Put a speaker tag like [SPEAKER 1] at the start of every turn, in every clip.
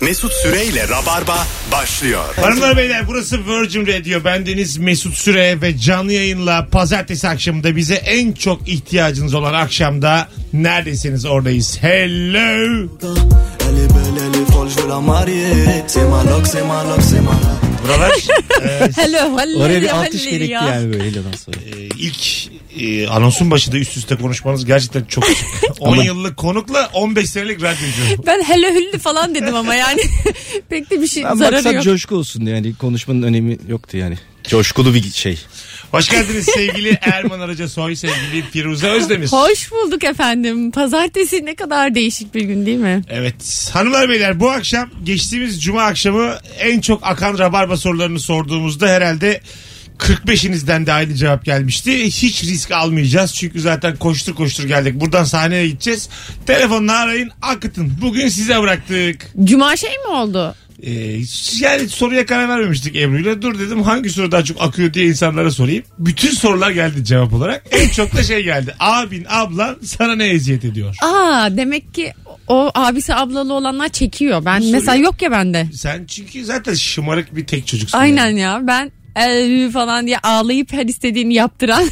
[SPEAKER 1] Mesut Süreyle Rabarba başlıyor.
[SPEAKER 2] Hanımlar beyler burası Virgin Radio. Bendeniz Mesut Süre ve canlı yayınla pazartesi akşamında bize en çok ihtiyacınız olan akşamda neredesiniz oradayız. Hello.
[SPEAKER 3] Elle est belle, elle est folle, je veux la marier. C'est ma loc, c'est ma loc, c'est ma loc.
[SPEAKER 2] Buralar
[SPEAKER 4] Hello, hello,
[SPEAKER 5] Oraya bir
[SPEAKER 4] hello,
[SPEAKER 5] alkış
[SPEAKER 4] hello
[SPEAKER 5] gerekti
[SPEAKER 4] ya.
[SPEAKER 5] yani böyle elden sonra.
[SPEAKER 2] e, ilk e, anonsun başında üst üste konuşmanız gerçekten çok 10
[SPEAKER 5] Ama-
[SPEAKER 2] yıllık konukla 15 senelik radyocu.
[SPEAKER 4] Ben hello hüllü falan dedim ama yani pek de bir şey
[SPEAKER 5] Ben
[SPEAKER 4] zararı
[SPEAKER 5] maksat
[SPEAKER 4] yok.
[SPEAKER 5] coşku olsun yani konuşmanın önemi yoktu yani. Coşkulu bir şey.
[SPEAKER 2] Hoş geldiniz sevgili Erman Araca Soy, sevgili Firuze Özdemir.
[SPEAKER 4] Hoş bulduk efendim. Pazartesi ne kadar değişik bir gün değil mi?
[SPEAKER 2] Evet. Hanımlar beyler bu akşam geçtiğimiz cuma akşamı en çok akan rabarba sorularını sorduğumuzda herhalde 45'inizden de aynı cevap gelmişti. Hiç risk almayacağız çünkü zaten koştur koştur geldik. Buradan sahneye gideceğiz. Telefonla arayın akıtın. Bugün size bıraktık.
[SPEAKER 4] Cuma şey mi oldu?
[SPEAKER 2] Ee, yani soruya karar vermemiştik Ebru'yla. Dur dedim hangi soru daha çok akıyor diye insanlara sorayım. Bütün sorular geldi cevap olarak. En çok da şey geldi. Abin ablan sana ne eziyet ediyor?
[SPEAKER 4] Aa demek ki o abisi ablalı olanlar çekiyor. Ben mesela yok ya bende.
[SPEAKER 2] Sen çünkü zaten şımarık bir tek çocuksun.
[SPEAKER 4] Aynen ya ben "Ey" falan diye ağlayıp her istediğini yaptıran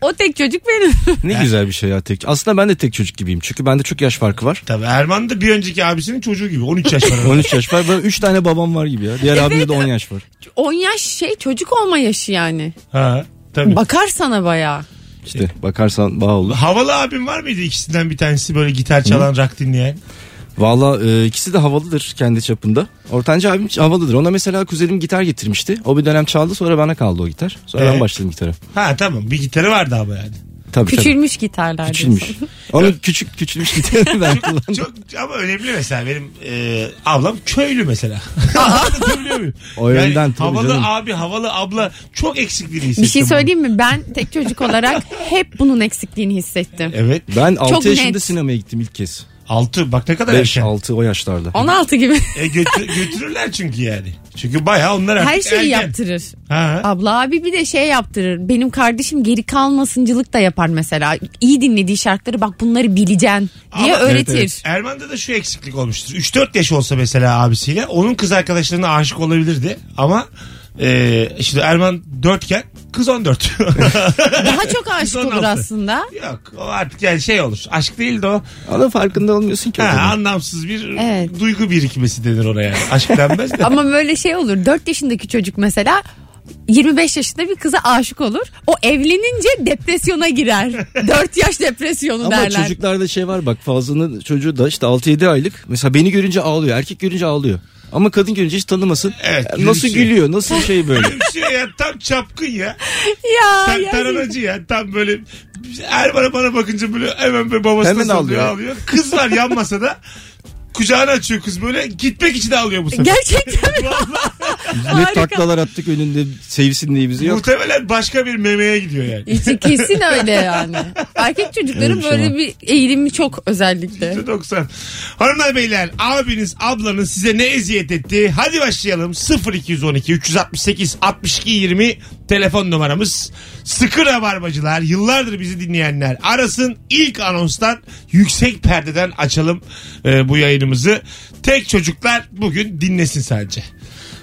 [SPEAKER 4] o tek çocuk benim.
[SPEAKER 5] Ne güzel bir şey ya tek. Aslında ben de tek çocuk gibiyim. Çünkü bende çok yaş farkı var.
[SPEAKER 2] Tabii Erman da bir önceki abisinin çocuğu gibi 13 yaş var.
[SPEAKER 5] 13 yaş var. Böyle 3 tane babam var gibi ya. Diğer abimde de 10 yaş var.
[SPEAKER 4] 10 yaş şey çocuk olma yaşı yani.
[SPEAKER 2] ha, tabii.
[SPEAKER 4] Bakar sana bayağı.
[SPEAKER 5] İşte bakarsan bağ oldu.
[SPEAKER 2] Havalı abim var mıydı ikisinden bir tanesi böyle gitar çalan, rock dinleyen?
[SPEAKER 5] Valla e, ikisi de havalıdır kendi çapında. Ortanca abim havalıdır. Ona mesela kuzenim gitar getirmişti. O bir dönem çaldı sonra bana kaldı o gitar. Sonra
[SPEAKER 2] Evet.
[SPEAKER 5] ben başladım gitara.
[SPEAKER 2] Ha tamam bir gitarı vardı ama yani.
[SPEAKER 5] Tabii tabii.
[SPEAKER 4] Küçülmüş gitarlar.
[SPEAKER 5] Küçülmüş. Onun küçük küçülmüş gitarını ben kullandım.
[SPEAKER 2] Çok ama önemli mesela benim e, ablam köylü mesela. Anlatabiliyor muyum?
[SPEAKER 5] O yönden tabii
[SPEAKER 2] Havalı
[SPEAKER 5] canım.
[SPEAKER 2] abi havalı abla çok eksikliğini hissettim.
[SPEAKER 4] Bir şey söyleyeyim mi? Ben tek çocuk olarak hep bunun eksikliğini hissettim.
[SPEAKER 2] Evet
[SPEAKER 5] Ben 6 yaşında
[SPEAKER 4] net.
[SPEAKER 5] sinemaya gittim ilk kez.
[SPEAKER 2] 6 bak ne kadar erken.
[SPEAKER 5] 5-6 o yaşlarda.
[SPEAKER 4] 16 gibi
[SPEAKER 2] E, götü- götürürler çünkü yani. Çünkü bayağı onlar artık
[SPEAKER 4] her şeyi
[SPEAKER 2] ergen.
[SPEAKER 4] yaptırır.
[SPEAKER 2] Ha.
[SPEAKER 4] Abla abi bir de şey yaptırır. Benim kardeşim geri kalmasıncılık da yapar mesela. İyi dinlediği şarkıları bak bunları bileceksin diye
[SPEAKER 2] Ama-
[SPEAKER 4] öğretir.
[SPEAKER 5] Evet,
[SPEAKER 2] Erman'da da şu eksiklik olmuştur. 3-4 yaş olsa mesela abisiyle onun kız arkadaşlarına aşık olabilirdi ama e, şimdi Erman 4 iken kız 14.
[SPEAKER 4] Daha çok aşık olur
[SPEAKER 2] 16.
[SPEAKER 4] aslında.
[SPEAKER 2] Yok o artık yani şey olur. Aşk değil de o.
[SPEAKER 5] Ama farkında olmuyorsun ki. o
[SPEAKER 2] Ha,
[SPEAKER 5] zaman.
[SPEAKER 2] anlamsız bir
[SPEAKER 4] Evet.
[SPEAKER 2] duygu birikmesi denir ona yani. Aşk denmez de.
[SPEAKER 4] Ama böyle şey olur. 4 yaşındaki çocuk mesela 25 yaşında bir kıza aşık olur. O evlenince depresyona girer. 4 yaş depresyonu
[SPEAKER 5] Ama
[SPEAKER 4] derler.
[SPEAKER 5] çocuklarda şey var bak fazlının çocuğu da işte 6-7 aylık. Mesela beni görünce ağlıyor. Erkek görünce ağlıyor. Ama kadın görünce hiç tanımasın.
[SPEAKER 2] Evet,
[SPEAKER 5] E, nasıl
[SPEAKER 2] gülümsüyor.
[SPEAKER 5] gülüyor? Nasıl şey böyle?
[SPEAKER 2] Şey ya, tam çapkın ya.
[SPEAKER 4] Ya,
[SPEAKER 2] Tam
[SPEAKER 4] ya.
[SPEAKER 2] taranacı ya. Tam böyle Erman'a bana bakınca böyle hemen böyle babasına
[SPEAKER 5] Hemen
[SPEAKER 2] sallıyor,
[SPEAKER 5] ağlıyor.
[SPEAKER 2] ağlıyor. Kız var yan masada. Kucağına açıyor kız böyle. Gitmek için ağlıyor bu sefer.
[SPEAKER 4] Gerçekten
[SPEAKER 2] Vallahi
[SPEAKER 5] ne taklalar attık önünde sevsin diye bizi yok.
[SPEAKER 2] muhtemelen başka bir memeye gidiyor yani.
[SPEAKER 4] İşte kesin öyle yani. Erkek çocukların
[SPEAKER 5] Öyle bir şey
[SPEAKER 4] böyle
[SPEAKER 5] var.
[SPEAKER 4] bir eğilimi çok özellikle.
[SPEAKER 2] 90. Hanımlar beyler abiniz ablanız size ne eziyet etti? Hadi başlayalım. 0212 368 62 20 telefon numaramız. Sıkı rabarbacılar yıllardır bizi dinleyenler arasın. İlk anonstan yüksek perdeden açalım e, bu yayınımızı. Tek çocuklar bugün dinlesin sadece.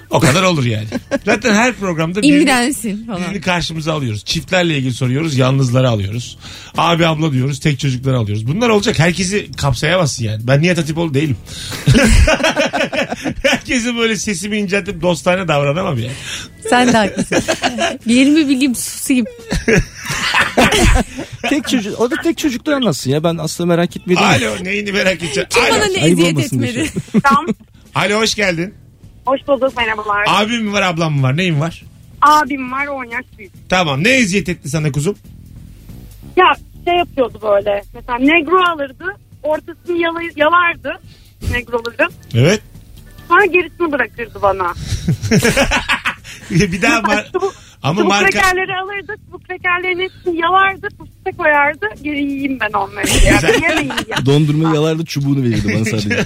[SPEAKER 2] O kadar olur yani. Zaten her programda birini-
[SPEAKER 4] İmrensin falan.
[SPEAKER 2] Birini karşımıza alıyoruz. Çiftlerle ilgili soruyoruz. Yalnızları alıyoruz. Abi abla diyoruz. Tek çocukları alıyoruz. Bunlar olacak. Herkesi kapsayamazsın yani. Ben Nihat Hatipoğlu değilim. Herkesi böyle sesimi inceltip dostane davranamam yani.
[SPEAKER 4] Sen de haklısın. bir yerimi bileyim susayım.
[SPEAKER 5] tek çocuk, o da tek çocukları anlatsın ya. Ben aslında merak etmedim.
[SPEAKER 2] Alo neyini merak edeceğim.
[SPEAKER 4] Kim
[SPEAKER 2] Alo.
[SPEAKER 4] bana ne
[SPEAKER 5] ayıp
[SPEAKER 4] eziyet
[SPEAKER 5] olmasın
[SPEAKER 4] etmedi?
[SPEAKER 6] Tam.
[SPEAKER 2] Alo hoş geldin.
[SPEAKER 6] Hoş bulduk merhabalar.
[SPEAKER 2] Abim mi var ablam mı var? Neyin var?
[SPEAKER 6] Abim var 10 yaş büyük.
[SPEAKER 2] Tamam ne eziyet etti sana kuzum?
[SPEAKER 6] Ya şey yapıyordu böyle. Mesela negro alırdı. Ortasını yala- yalardı. Negroları.
[SPEAKER 2] Evet.
[SPEAKER 6] Sonra gerisini bırakırdı bana.
[SPEAKER 2] bir daha
[SPEAKER 6] Mesela
[SPEAKER 2] mar-
[SPEAKER 6] çubuk-
[SPEAKER 2] ama
[SPEAKER 6] çubuk
[SPEAKER 2] marka
[SPEAKER 6] krekerleri alırdı. Çubuk krekerlerin hepsini yalardı. tepse koyardı. Geri yiyeyim ben onları. diye.
[SPEAKER 2] Güzel.
[SPEAKER 6] Yemeyin diye.
[SPEAKER 5] Dondurma yalardı çubuğunu verirdi bana sadece.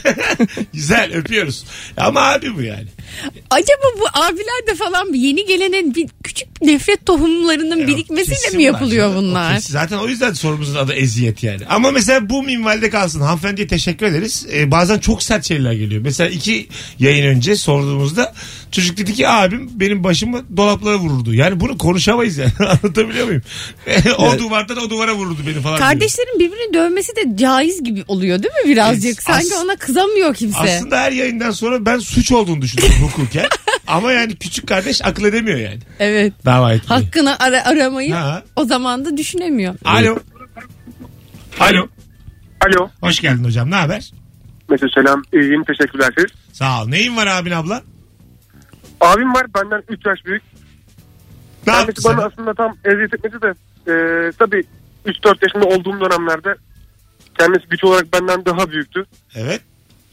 [SPEAKER 2] Güzel öpüyoruz. Ama abi bu yani.
[SPEAKER 4] Acaba bu abiler de falan bir yeni gelenin bir küçük nefret tohumlarının birikmesiyle
[SPEAKER 2] Kesin
[SPEAKER 4] mi yapılıyor
[SPEAKER 2] var. O
[SPEAKER 4] bunlar?
[SPEAKER 2] kesin. Zaten o yüzden sorumuzun adı eziyet yani. Ama mesela bu minvalde kalsın. Hanımefendiye teşekkür ederiz. Ee, bazen çok sert şeyler geliyor. Mesela iki yayın önce sorduğumuzda çocuk dedi ki abim benim başımı dolaplara vururdu. Yani bunu konuşamayız yani. Anlatabiliyor muyum? o duvardan o duvara vururdu beni falan. diyor.
[SPEAKER 4] Kardeşlerin birbirini dövmesi de caiz gibi oluyor değil mi birazcık?
[SPEAKER 2] As-
[SPEAKER 4] Sanki ona kızamıyor kimse.
[SPEAKER 2] Aslında her yayından sonra ben suç olduğunu düşünüyorum hukuken. Ama yani küçük kardeş akıl edemiyor yani.
[SPEAKER 4] evet.
[SPEAKER 2] Dava etmeyi.
[SPEAKER 4] Hakkını ara- aramayı
[SPEAKER 2] Ha.
[SPEAKER 4] o zaman da düşünemiyor.
[SPEAKER 2] Alo. Alo.
[SPEAKER 7] Alo.
[SPEAKER 2] Hoş geldin hocam. Ne haber?
[SPEAKER 7] Mesut selam. İyiyim teşekkürler siz.
[SPEAKER 2] Sağ ol. Neyin var abin abla?
[SPEAKER 7] Abim var benden 3 yaş büyük.
[SPEAKER 2] Ne yaptı
[SPEAKER 7] Kendisi bana
[SPEAKER 2] sana?
[SPEAKER 7] aslında tam eziyet etmedi de e, tabii 3-4 yaşında olduğum dönemlerde kendisi güç olarak benden daha büyüktü.
[SPEAKER 2] Evet.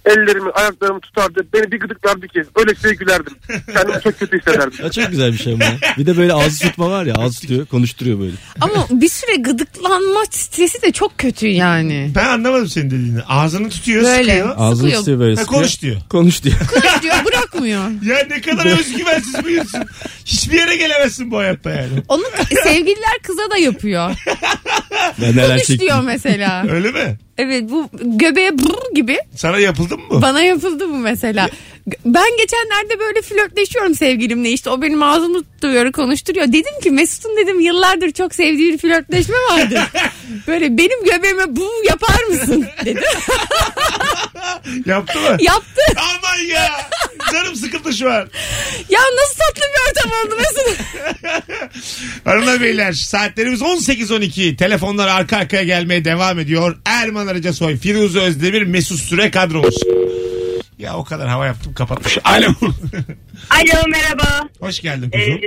[SPEAKER 7] Ellerimi ayaklarımı tutardı. Beni bir gıdıklardı ki öyle size gülerdim. Kendimi çok kötü hissederdim.
[SPEAKER 5] Ya çok güzel bir şey bu. ya. Bir de böyle ağzı tutma var ya ağzı tutuyor konuşturuyor böyle.
[SPEAKER 4] Ama bir süre gıdıklanma stresi de çok kötü yani.
[SPEAKER 2] Ben anlamadım senin dediğini. Ağzını tutuyor,
[SPEAKER 4] Böyle.
[SPEAKER 2] sıkıyor.
[SPEAKER 5] Ağzını
[SPEAKER 4] Sıkıyor.
[SPEAKER 5] tutuyor böyle
[SPEAKER 2] Ha,
[SPEAKER 5] sıkıyor.
[SPEAKER 2] konuş diyor.
[SPEAKER 5] Konuş diyor.
[SPEAKER 4] Kılaç diyor bırakmıyor.
[SPEAKER 2] Ya ne kadar özgüvensiz buyursun. Hiçbir yere gelemezsin bu hayatta yani.
[SPEAKER 4] Onu sevgililer kıza da yapıyor.
[SPEAKER 5] Ben neler
[SPEAKER 4] Kılaç
[SPEAKER 5] çektim.
[SPEAKER 4] diyor mesela.
[SPEAKER 2] Öyle mi?
[SPEAKER 4] Evet bu göbeğe brr gibi
[SPEAKER 2] Sana yapıldı mı bu?
[SPEAKER 4] Bana yapıldı bu mesela. Ben geçenlerde böyle flörtleşiyorum sevgilimle işte o benim ağzımı tutuyor konuşturuyor. Dedim ki Mesut'un dedim yıllardır çok sevdiği bir flörtleşme vardı. böyle benim göbeğime bu yapar mısın dedi.
[SPEAKER 2] Yaptı mı?
[SPEAKER 4] Yaptı.
[SPEAKER 2] Aman ya. Canım sıkıldı şu an.
[SPEAKER 4] Ya nasıl tatlı bir ortam oldu Mesut.
[SPEAKER 2] Hanımlar beyler saatlerimiz 18.12. Telefonlar arka arkaya gelmeye devam ediyor. Erman Arıca Soy, Firuze Özdemir, Mesut Süre kadromuz. Ya o kadar hava yaptım kapatmış. Alo.
[SPEAKER 6] Alo merhaba.
[SPEAKER 2] Hoş geldin
[SPEAKER 6] Ee,
[SPEAKER 2] kuzum.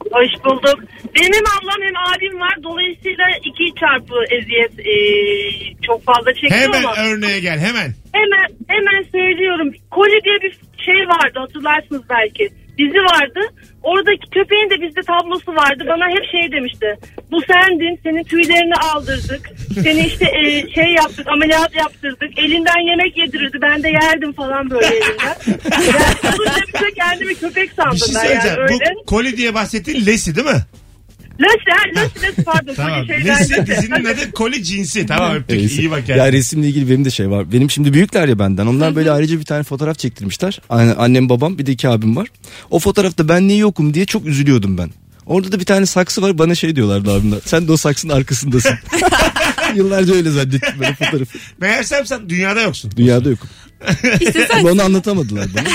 [SPEAKER 6] hoş bulduk. Benim hem ablam hem abim var. Dolayısıyla iki çarpı eziyet ee, çok fazla çekiyor
[SPEAKER 2] Hemen
[SPEAKER 6] ama.
[SPEAKER 2] örneğe gel hemen.
[SPEAKER 6] Hemen hemen söylüyorum. Koli diye bir şey vardı hatırlarsınız belki. Dizi vardı. Oradaki köpeğin de bizde tablosu vardı. Bana hep şey demişti. Bu sendin. Senin tüylerini aldırdık. Seni işte e, şey yaptık. Ameliyat yaptırdık. Elinden yemek yedirirdi. Ben de yerdim falan böyle elinden. Yani olunca bir de kendimi köpek sandım
[SPEAKER 2] Bir şey
[SPEAKER 6] ben yani
[SPEAKER 2] söyleyeceğim.
[SPEAKER 6] öyle.
[SPEAKER 2] Bu koli diye bahsettiğin lesi değil mi?
[SPEAKER 6] Lasi, ha, Lasi, Lasi pardon.
[SPEAKER 2] Tamam.
[SPEAKER 6] Koli şey şeyden
[SPEAKER 2] Lesi
[SPEAKER 6] Lasi.
[SPEAKER 2] dizinin adı koli cinsi. Tamam öptük.
[SPEAKER 5] Neyse.
[SPEAKER 2] İyi bak
[SPEAKER 5] Ya
[SPEAKER 2] yani.
[SPEAKER 5] resimle ilgili benim de şey var. Benim şimdi büyükler ya benden. Onlar böyle ayrıca bir tane fotoğraf çektirmişler. Anne- Annem babam bir de iki abim var. O fotoğrafta ben niye yokum diye çok üzülüyordum ben. Orada da bir tane saksı var bana şey diyorlardı abimler. Sen de o saksının arkasındasın. Yıllarca öyle zannettim ben o fotoğrafı.
[SPEAKER 2] Meğersem sen dünyada yoksun.
[SPEAKER 5] Dünyada yokum.
[SPEAKER 4] İşte sen
[SPEAKER 5] Ama onu anlatamadılar bana.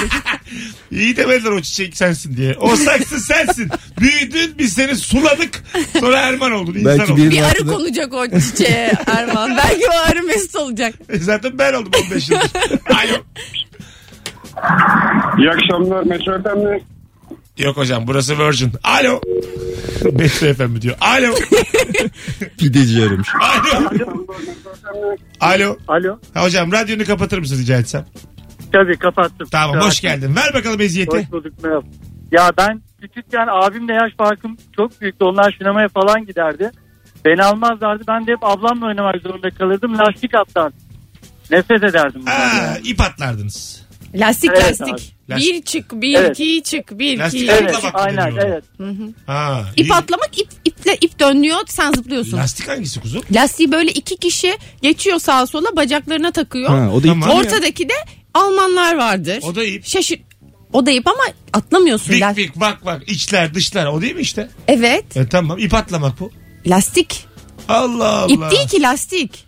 [SPEAKER 2] İyi demediler o çiçek sensin diye. O saksı sensin. Büyüdün biz seni suladık. Sonra Erman oldun. insan
[SPEAKER 5] Belki
[SPEAKER 2] oldun.
[SPEAKER 5] birinin
[SPEAKER 4] bir arı
[SPEAKER 5] altına
[SPEAKER 4] konacak o çiçeğe Erman. Belki o arı Mesut olacak.
[SPEAKER 2] E, Zaten ben oldum 15 yıldır. Alo.
[SPEAKER 7] İyi akşamlar Mesut Efendi.
[SPEAKER 2] Yok hocam burası Virgin. Alo. Betül efendi diyor. Alo.
[SPEAKER 5] pideci aramış.
[SPEAKER 2] Alo. Alo.
[SPEAKER 7] Alo.
[SPEAKER 2] Ha, hocam radyonu kapatır mısın rica etsem?
[SPEAKER 7] Tabii kapattım.
[SPEAKER 2] Tamam hoş geldin. Ver bakalım eziyeti.
[SPEAKER 7] Hoş bulduk merhaba. Ya ben küçükken abimle yaş farkım çok büyüktü. Onlar sinemaya falan giderdi. Beni almazlardı. Ben de hep ablamla oynamak zorunda kalırdım. Lastik attan. Nefret ederdim. bundan.
[SPEAKER 2] Aa, ip atlardınız.
[SPEAKER 4] Lastik
[SPEAKER 7] Evet,
[SPEAKER 4] lastik.
[SPEAKER 2] Lastik.
[SPEAKER 4] Bir çık bir
[SPEAKER 7] Evet.
[SPEAKER 4] iki çık bir
[SPEAKER 2] Lastik.
[SPEAKER 4] iki.
[SPEAKER 7] Evet
[SPEAKER 2] Zıplamak
[SPEAKER 7] aynen
[SPEAKER 2] deniyor.
[SPEAKER 7] evet.
[SPEAKER 2] Ha, iyi.
[SPEAKER 4] İp atlamak ip, iple ip dönüyor sen zıplıyorsun.
[SPEAKER 2] Lastik hangisi kuzum?
[SPEAKER 4] Lastiği böyle iki kişi geçiyor sağa sola bacaklarına takıyor.
[SPEAKER 5] Ha, o da
[SPEAKER 2] Tamam.
[SPEAKER 5] iptal.
[SPEAKER 4] Ortadaki de Almanlar vardır.
[SPEAKER 2] O da ip.
[SPEAKER 4] Şaşır. O da ip ama atlamıyorsun.
[SPEAKER 2] Vik
[SPEAKER 4] Las-
[SPEAKER 2] vik bak bak içler dışlar o değil mi işte?
[SPEAKER 4] Evet.
[SPEAKER 2] E tamam ip atlamak bu.
[SPEAKER 4] Lastik.
[SPEAKER 2] Allah Allah.
[SPEAKER 4] İp değil ki lastik.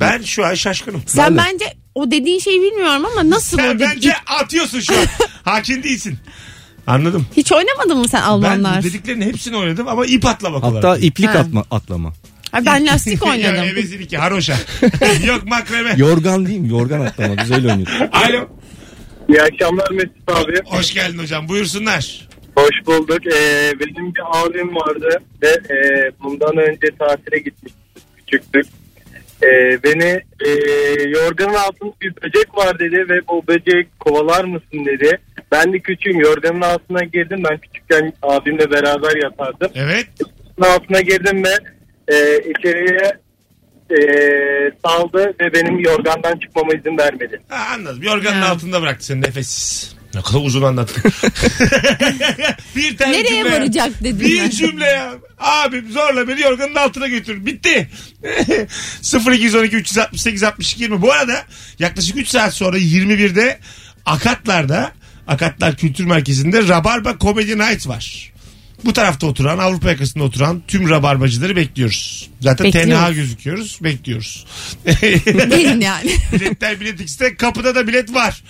[SPEAKER 2] Ben şu an şaşkınım.
[SPEAKER 4] Sen
[SPEAKER 5] de.
[SPEAKER 4] bence o dediğin şeyi bilmiyorum ama nasıl o
[SPEAKER 2] Sen
[SPEAKER 4] dedi-
[SPEAKER 2] bence
[SPEAKER 4] ip-
[SPEAKER 2] atıyorsun şu an. Hakim değilsin. Anladım.
[SPEAKER 4] Hiç oynamadın mı sen Almanlar? Ay,
[SPEAKER 2] Ben
[SPEAKER 4] Ben,
[SPEAKER 2] dediklerin hepsini oynadım ama ip atlamak olarak.
[SPEAKER 5] Hatta iplik
[SPEAKER 4] Ha.
[SPEAKER 5] atma, atlama.
[SPEAKER 4] lastik
[SPEAKER 2] ya,
[SPEAKER 4] oynadım.
[SPEAKER 2] evezilik ya, haroşa. Yok makreme.
[SPEAKER 5] Yorgan değil mi? Yorgan atlama. Güzel oynuyor.
[SPEAKER 2] Alo.
[SPEAKER 7] İyi akşamlar Mesut abi.
[SPEAKER 2] Hoş geldin hocam. Buyursunlar.
[SPEAKER 7] Hoş bulduk. Ee, benim bir abim vardı ve e, bundan önce tatile gitmiştik. Küçüktük. Ee, beni e, yorganın altında bir böcek var dedi ve bu böcek kovalar mısın dedi. Ben de küçüğüm yorganın altına girdim. Ben küçükken abimle beraber yatardım.
[SPEAKER 2] Evet.
[SPEAKER 7] Yorganın altına girdim ve e, içeriye e, saldı ve benim yorgandan çıkmama izin vermedi.
[SPEAKER 2] Ha, anladım. Yorganın
[SPEAKER 4] Ha.
[SPEAKER 2] altında bıraktı seni nefessiz. Ne kadar uzun anlattın. bir tane
[SPEAKER 4] Nereye
[SPEAKER 2] cümle ya.
[SPEAKER 4] varacak dedim
[SPEAKER 2] Bir
[SPEAKER 4] ben.
[SPEAKER 2] cümle ya. Abim zorla beni yorganın altına götür. Bitti. 0212 368 62 20. Bu arada yaklaşık 3 saat sonra 21'de Akatlar'da Akatlar Kültür Merkezi'nde Rabarba Comedy Night var. Bu tarafta oturan, Avrupa yakasında oturan tüm rabarbacıları bekliyoruz. Zaten
[SPEAKER 4] Bekliyoruz.
[SPEAKER 2] tenha gözüküyoruz, bekliyoruz.
[SPEAKER 4] Gelin yani.
[SPEAKER 2] Biletler bilet X'te kapıda da bilet var.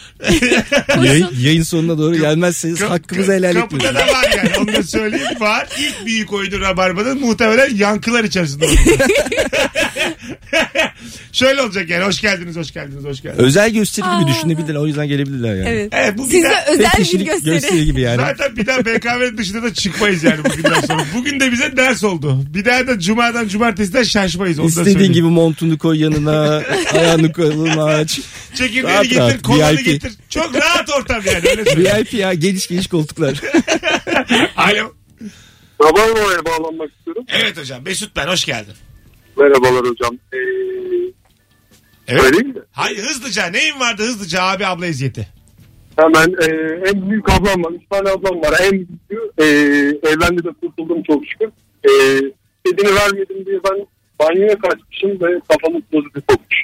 [SPEAKER 5] Yayın, yayın sonuna doğru gelmezseniz
[SPEAKER 2] Kap-
[SPEAKER 5] hakkımızı helal
[SPEAKER 2] Kapıda
[SPEAKER 5] etmiyoruz.
[SPEAKER 2] da var yani onu da söyleyeyim var. İlk büyük oyunu Rabarba'nın muhtemelen yankılar içerisinde olacak. Şöyle olacak yani hoş geldiniz hoş geldiniz hoş geldiniz.
[SPEAKER 5] Özel gösteri gibi
[SPEAKER 4] Aa.
[SPEAKER 5] düşünebilirler. O yüzden gelebilirler yani.
[SPEAKER 4] Evet.
[SPEAKER 2] Evet, bu bir
[SPEAKER 4] Size
[SPEAKER 2] daha-
[SPEAKER 5] Tek
[SPEAKER 4] özel bir
[SPEAKER 5] kişilik
[SPEAKER 4] gösteri.
[SPEAKER 5] gibi yani.
[SPEAKER 2] Zaten bir daha BKM dışında da çıkmayız yani bugünden sonra. Bugün de bize ders oldu. Bir daha da cumadan cumartesiden şaşmayız. Onu da
[SPEAKER 5] İstediğin
[SPEAKER 2] söyleyeyim.
[SPEAKER 5] gibi montunu koy yanına, ayağını kolunu aç.
[SPEAKER 2] Çekirdeğini
[SPEAKER 5] Rahat
[SPEAKER 2] getir,
[SPEAKER 5] rahat,
[SPEAKER 2] kolanı
[SPEAKER 5] VIP.
[SPEAKER 2] getir. Çok rahat ortam yani. Öyle söyleyeyim.
[SPEAKER 5] VIP ya geniş geniş koltuklar.
[SPEAKER 2] Alo.
[SPEAKER 7] Rabarba'ya bağlanmak istiyorum.
[SPEAKER 2] Evet hocam Mesut ben hoş geldin.
[SPEAKER 7] Merhabalar hocam. Ee,
[SPEAKER 2] Evet.
[SPEAKER 7] Söyleyeyim mi?
[SPEAKER 2] Hayır hızlıca neyin vardı hızlıca abi abla eziyeti.
[SPEAKER 7] Hemen e, en büyük ablam var. Üç tane ablam var. En büyüğü e, evlendi de kurtuldum çok şükür. E, istediğini vermedim diye ben banyoya kaçmışım ve kafamı bozuk sokmuş.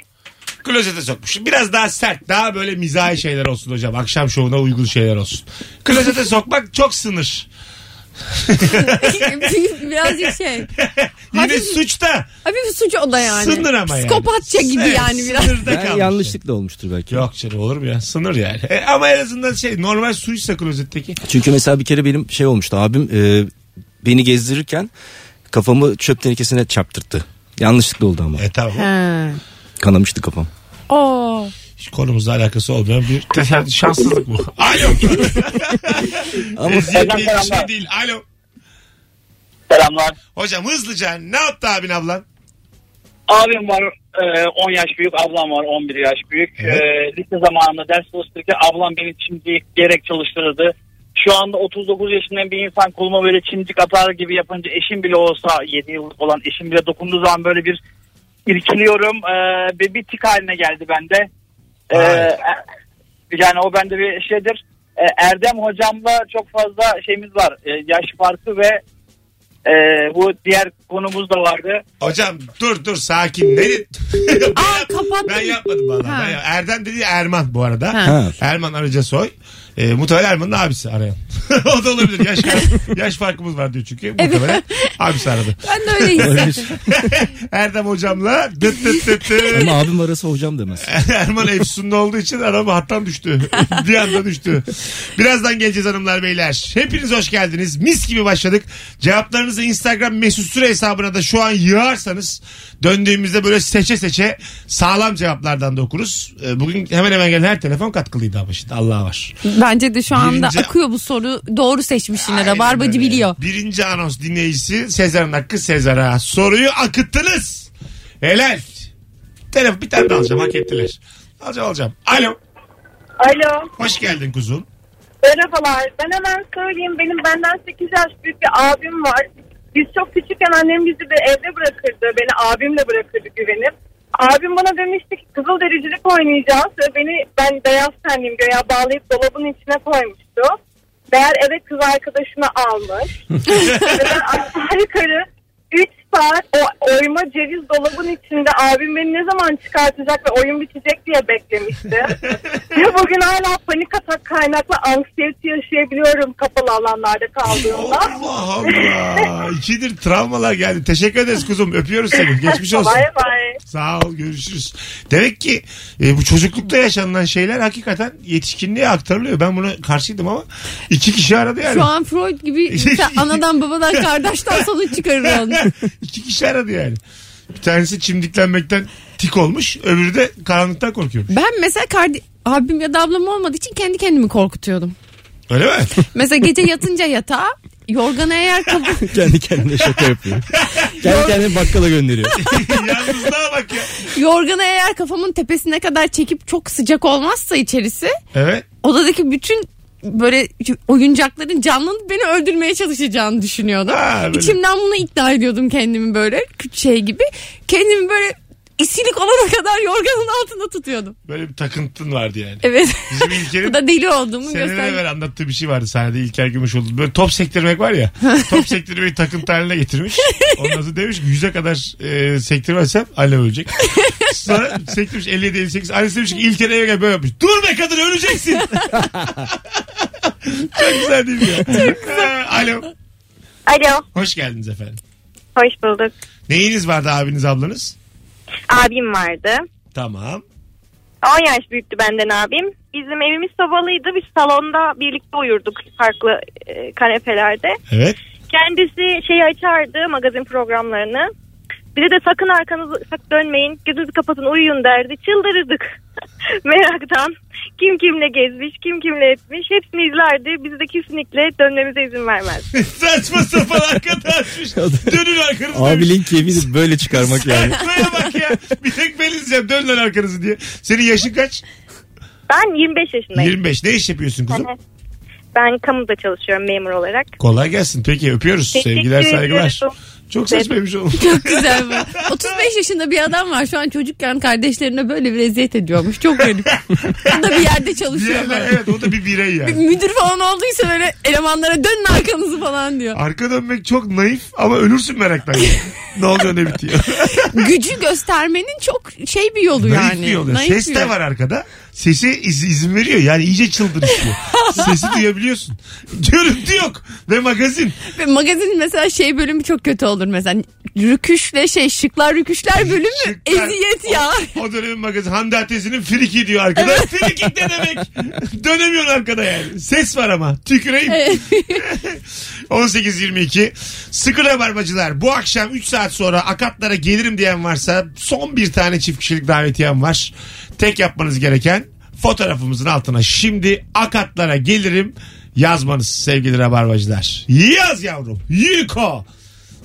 [SPEAKER 2] Klozete sokmuşum. Biraz daha sert, daha böyle mizahi şeyler olsun hocam. Akşam şovuna uygun şeyler olsun. Klozete sokmak çok sınır.
[SPEAKER 4] Birazcık şey.
[SPEAKER 2] Yine
[SPEAKER 4] Hafif-
[SPEAKER 2] suçta.
[SPEAKER 4] Hafif suç o da yani.
[SPEAKER 2] Sınır ama yani.
[SPEAKER 4] Psikopatça gibi
[SPEAKER 2] Evet,
[SPEAKER 4] yani biraz.
[SPEAKER 2] Sınırda
[SPEAKER 5] Yani
[SPEAKER 2] kalmış.
[SPEAKER 5] yanlışlıkla olmuştur belki.
[SPEAKER 2] Yok canım olur mu ya? Sınır yani. E, ama en azından şey normal suysa klozetteki.
[SPEAKER 5] Çünkü mesela bir kere benim şey olmuştu abim e, beni gezdirirken kafamı çöp tenekesine çarptırttı. Yanlışlıkla oldu ama.
[SPEAKER 2] E tamam.
[SPEAKER 4] Ha.
[SPEAKER 5] Kanamıştı kafam.
[SPEAKER 4] Oo.
[SPEAKER 2] Hiç konumuzla alakası olmayan bir tesadüf- şanssızlık bu. Alo.
[SPEAKER 5] Ama-
[SPEAKER 2] Eziyet diye bir şey değil. Alo.
[SPEAKER 8] Selamlar.
[SPEAKER 2] Hocam hızlıca ne yaptı abin ablan?
[SPEAKER 8] Abim var e, 10 yaş büyük, ablam var 11 yaş büyük.
[SPEAKER 2] Evet.
[SPEAKER 8] E, lise zamanında ders çalıştırırken ablam beni çimdik gerek çalıştırırdı. Şu anda 39 yaşında bir insan koluma böyle çimdik atar gibi yapınca eşim bile olsa 7 yıllık olan eşim bile dokunduğu zaman böyle bir irkiliyorum. E, bir, bir tik haline geldi bende. E,
[SPEAKER 2] Vay.
[SPEAKER 8] yani o bende bir şeydir. E, Erdem hocamla çok fazla şeyimiz var. E, yaş farkı ve e, bu diğer konumuz da vardı.
[SPEAKER 2] Hocam dur dur sakin. Ne?
[SPEAKER 4] Aa kapattım.
[SPEAKER 2] Ben yapmadım valla.
[SPEAKER 4] Ha.
[SPEAKER 2] Ben yap- Erdem dedi Erman bu arada.
[SPEAKER 4] Ha.
[SPEAKER 5] Ha.
[SPEAKER 2] Erman Arıca Soy. E, muhtemelen Erman'ın abisi arayan. o da olabilir. Yaş, yaş farkımız var diyor çünkü. Muhtemelen abisi aradı.
[SPEAKER 4] Ben de öyle hissettim.
[SPEAKER 2] Erdem hocamla dıt dıt dıt dıt.
[SPEAKER 5] Ama abim arası hocam demez.
[SPEAKER 2] Erman Efsun'da olduğu için adam hattan düştü. bir anda düştü. Birazdan geleceğiz hanımlar beyler. Hepiniz hoş geldiniz. Mis gibi başladık. Cevaplarınızı Instagram mesut süre hesabına da şu an yığarsanız döndüğümüzde böyle seçe seçe sağlam cevaplardan da okuruz. Ee, Bugün hemen hemen gelen her telefon katkılıydı ama şimdi Allah'a var.
[SPEAKER 4] Bence de şu anda
[SPEAKER 2] Birinci-
[SPEAKER 4] akıyor bu soru. Doğru seçmiş yine.
[SPEAKER 2] Aynen
[SPEAKER 4] Rabarbacı
[SPEAKER 2] öyle.
[SPEAKER 4] biliyor.
[SPEAKER 2] Birinci anons dinleyicisi Sezar'ın hakkı Sezar'a. Soruyu akıttınız. Helal. Telefon bir tane daha alacağım hak ettiler. Alacağım alacağım. Alo.
[SPEAKER 6] Alo.
[SPEAKER 2] Hoş geldin kuzum.
[SPEAKER 6] Merhabalar. Ben hemen söyleyeyim. Benim benden 8 yaş büyük bir abim var. Biz çok küçükken annem bizi de evde bırakırdı. Beni abimle bırakırdı güvenip. Abim bana demişti ki kızıl dericilik oynayacağız. Ve beni ben beyaz tenliyim göğe bağlayıp dolabın içine koymuştu. Meğer eve kız arkadaşını almış. Ve ben aşağı yukarı 3 saat o oyma ceviz dolabın içinde abim beni ne zaman çıkartacak ve oyun bitecek diye beklemişti. Ve bugün hala panik atak kaynaklı anksiyete yaşayabiliyorum kapalı alanlarda kaldığımda.
[SPEAKER 2] Allah Allah. İkidir travmalar geldi. Teşekkür ederiz kuzum. Öpüyoruz seni. Geçmiş olsun.
[SPEAKER 6] Bay bay.
[SPEAKER 2] Sağ ol görüşürüz. Demek ki e, bu çocuklukta yaşanılan şeyler hakikaten yetişkinliğe aktarılıyor. Ben buna karşıydım ama iki kişi aradı yani.
[SPEAKER 4] Şu an Freud gibi insan anadan babadan kardeşten sonuç çıkarır onu.
[SPEAKER 2] İki kişi aradı yani. Bir tanesi çimdiklenmekten tik olmuş. Öbürü de karanlıktan korkuyormuş.
[SPEAKER 4] Ben mesela kardi- abim ya da ablam olmadığı için kendi kendimi korkutuyordum.
[SPEAKER 2] Öyle mi?
[SPEAKER 4] Mesela gece yatınca yatağa yorganı eğer kapı...
[SPEAKER 5] Kendi kendine şaka yapıyor. Kendi kendine bakkala gönderiyor.
[SPEAKER 2] Yalnızlığa bak ya.
[SPEAKER 4] yorganı eğer kafamın tepesine kadar çekip çok sıcak olmazsa içerisi
[SPEAKER 2] Evet.
[SPEAKER 4] odadaki bütün böyle oyuncakların canlanıp beni öldürmeye çalışacağını düşünüyordum.
[SPEAKER 2] Ha, böyle.
[SPEAKER 4] İçimden bunu iddia ediyordum kendimi böyle küçük şey gibi. Kendimi böyle isilik olana kadar yorganın altında tutuyordum.
[SPEAKER 2] Böyle bir takıntın vardı yani.
[SPEAKER 4] Evet.
[SPEAKER 2] Bizim İlker'in
[SPEAKER 4] Bu da deli olduğumu
[SPEAKER 2] seneler
[SPEAKER 4] gösterdi.
[SPEAKER 2] evvel anlattığı bir şey vardı sahnede İlker Gümüşoğlu. Böyle top sektirmek var ya. top sektirmeyi takıntı haline getirmiş. Ondan sonra demiş ki yüze kadar e, sektirmezsem annem ölecek. Sonra sektirmiş 57 58. Annesi demiş ki İlker'e eve gel böyle yapmış. Dur be kadın öleceksin. Çok güzel değil mi ya? Ha, Alo.
[SPEAKER 9] Alo,
[SPEAKER 2] Hoş geldiniz efendim.
[SPEAKER 9] hoş bulduk.
[SPEAKER 2] Neyiniz vardı abiniz ablanız?
[SPEAKER 9] Abim vardı.
[SPEAKER 2] Tamam.
[SPEAKER 9] 10 yaş büyüktü benden abim. Bizim evimiz sobalıydı. Biz salonda birlikte uyurduk farklı e, kanepelerde.
[SPEAKER 2] Evet.
[SPEAKER 9] Kendisi şeyi açardı magazin programlarını. Bize de sakın arkanızı sak dönmeyin, gözünüzü kapatın uyuyun derdi. Çıldırırdık meraktan. Kim kimle gezmiş, kim kimle etmiş hepsini izlerdi. Biz de kesinlikle dönmemize izin vermez.
[SPEAKER 2] Saçma sapan arkadaşmış. Dönün arkanızı demiş.
[SPEAKER 5] Abilik yemini böyle çıkarmak yani.
[SPEAKER 2] Buraya bak ya. Bir tek ben izleyeceğim. Dön lan arkanızı diye. Senin yaşın kaç?
[SPEAKER 9] Ben 25 yaşındayım.
[SPEAKER 2] 25. Ne iş yapıyorsun kızım?
[SPEAKER 9] Hani Ben kamuda çalışıyorum memur olarak.
[SPEAKER 2] Kolay gelsin. Peki öpüyoruz.
[SPEAKER 9] Teşekkür
[SPEAKER 2] Sevgiler saygılar.
[SPEAKER 9] ediyorum.
[SPEAKER 2] Çok saçmaymış oğlum.
[SPEAKER 4] Çok güzel bu. 35 yaşında bir adam var şu an çocukken kardeşlerine böyle bir eziyet ediyormuş. Çok garip. Bu da bir yerde
[SPEAKER 2] Bir
[SPEAKER 4] çalışıyor.
[SPEAKER 2] yerler-
[SPEAKER 4] böyle.
[SPEAKER 2] evet o da bir birey yani.
[SPEAKER 4] Müdür falan olduysa böyle elemanlara dönün arkanızı falan diyor.
[SPEAKER 2] Arka dönmek çok naif ama ölürsün meraktan. yani. ne oluyor ne bitiyor.
[SPEAKER 4] Gücü göstermenin çok şey bir yolu yani.
[SPEAKER 2] naif bir yol.
[SPEAKER 4] Naif
[SPEAKER 2] Ses
[SPEAKER 4] bir
[SPEAKER 2] de
[SPEAKER 4] yol.
[SPEAKER 2] var arkada. Sesi iz- izin veriyor. Yani iyice çıldırışıyor. Sesi duyabiliyorsun. Görüntü yok. Ve magazin.
[SPEAKER 4] Ve magazin mesela şey bölümü çok kötü olur mesela. Rüküşle şey şıklar rüküşler bölümü
[SPEAKER 2] Şıklar.
[SPEAKER 4] eziyet ya.
[SPEAKER 2] O dönemin magazin Hande Atesi'nin friki diyor arkada. Friki ne demek? Dönemiyorsun arkada yani. Ses var ama. Tüküreyim. 18-22. Sıkı rabarbacılar. Bu akşam 3 saat sonra akatlara gelirim diyen varsa son bir tane çift kişilik davetiyem var. Tek yapmanız gereken fotoğrafımızın altına şimdi akatlara gelirim yazmanız sevgili rabarbacılar. Yaz yavrum. Yiko.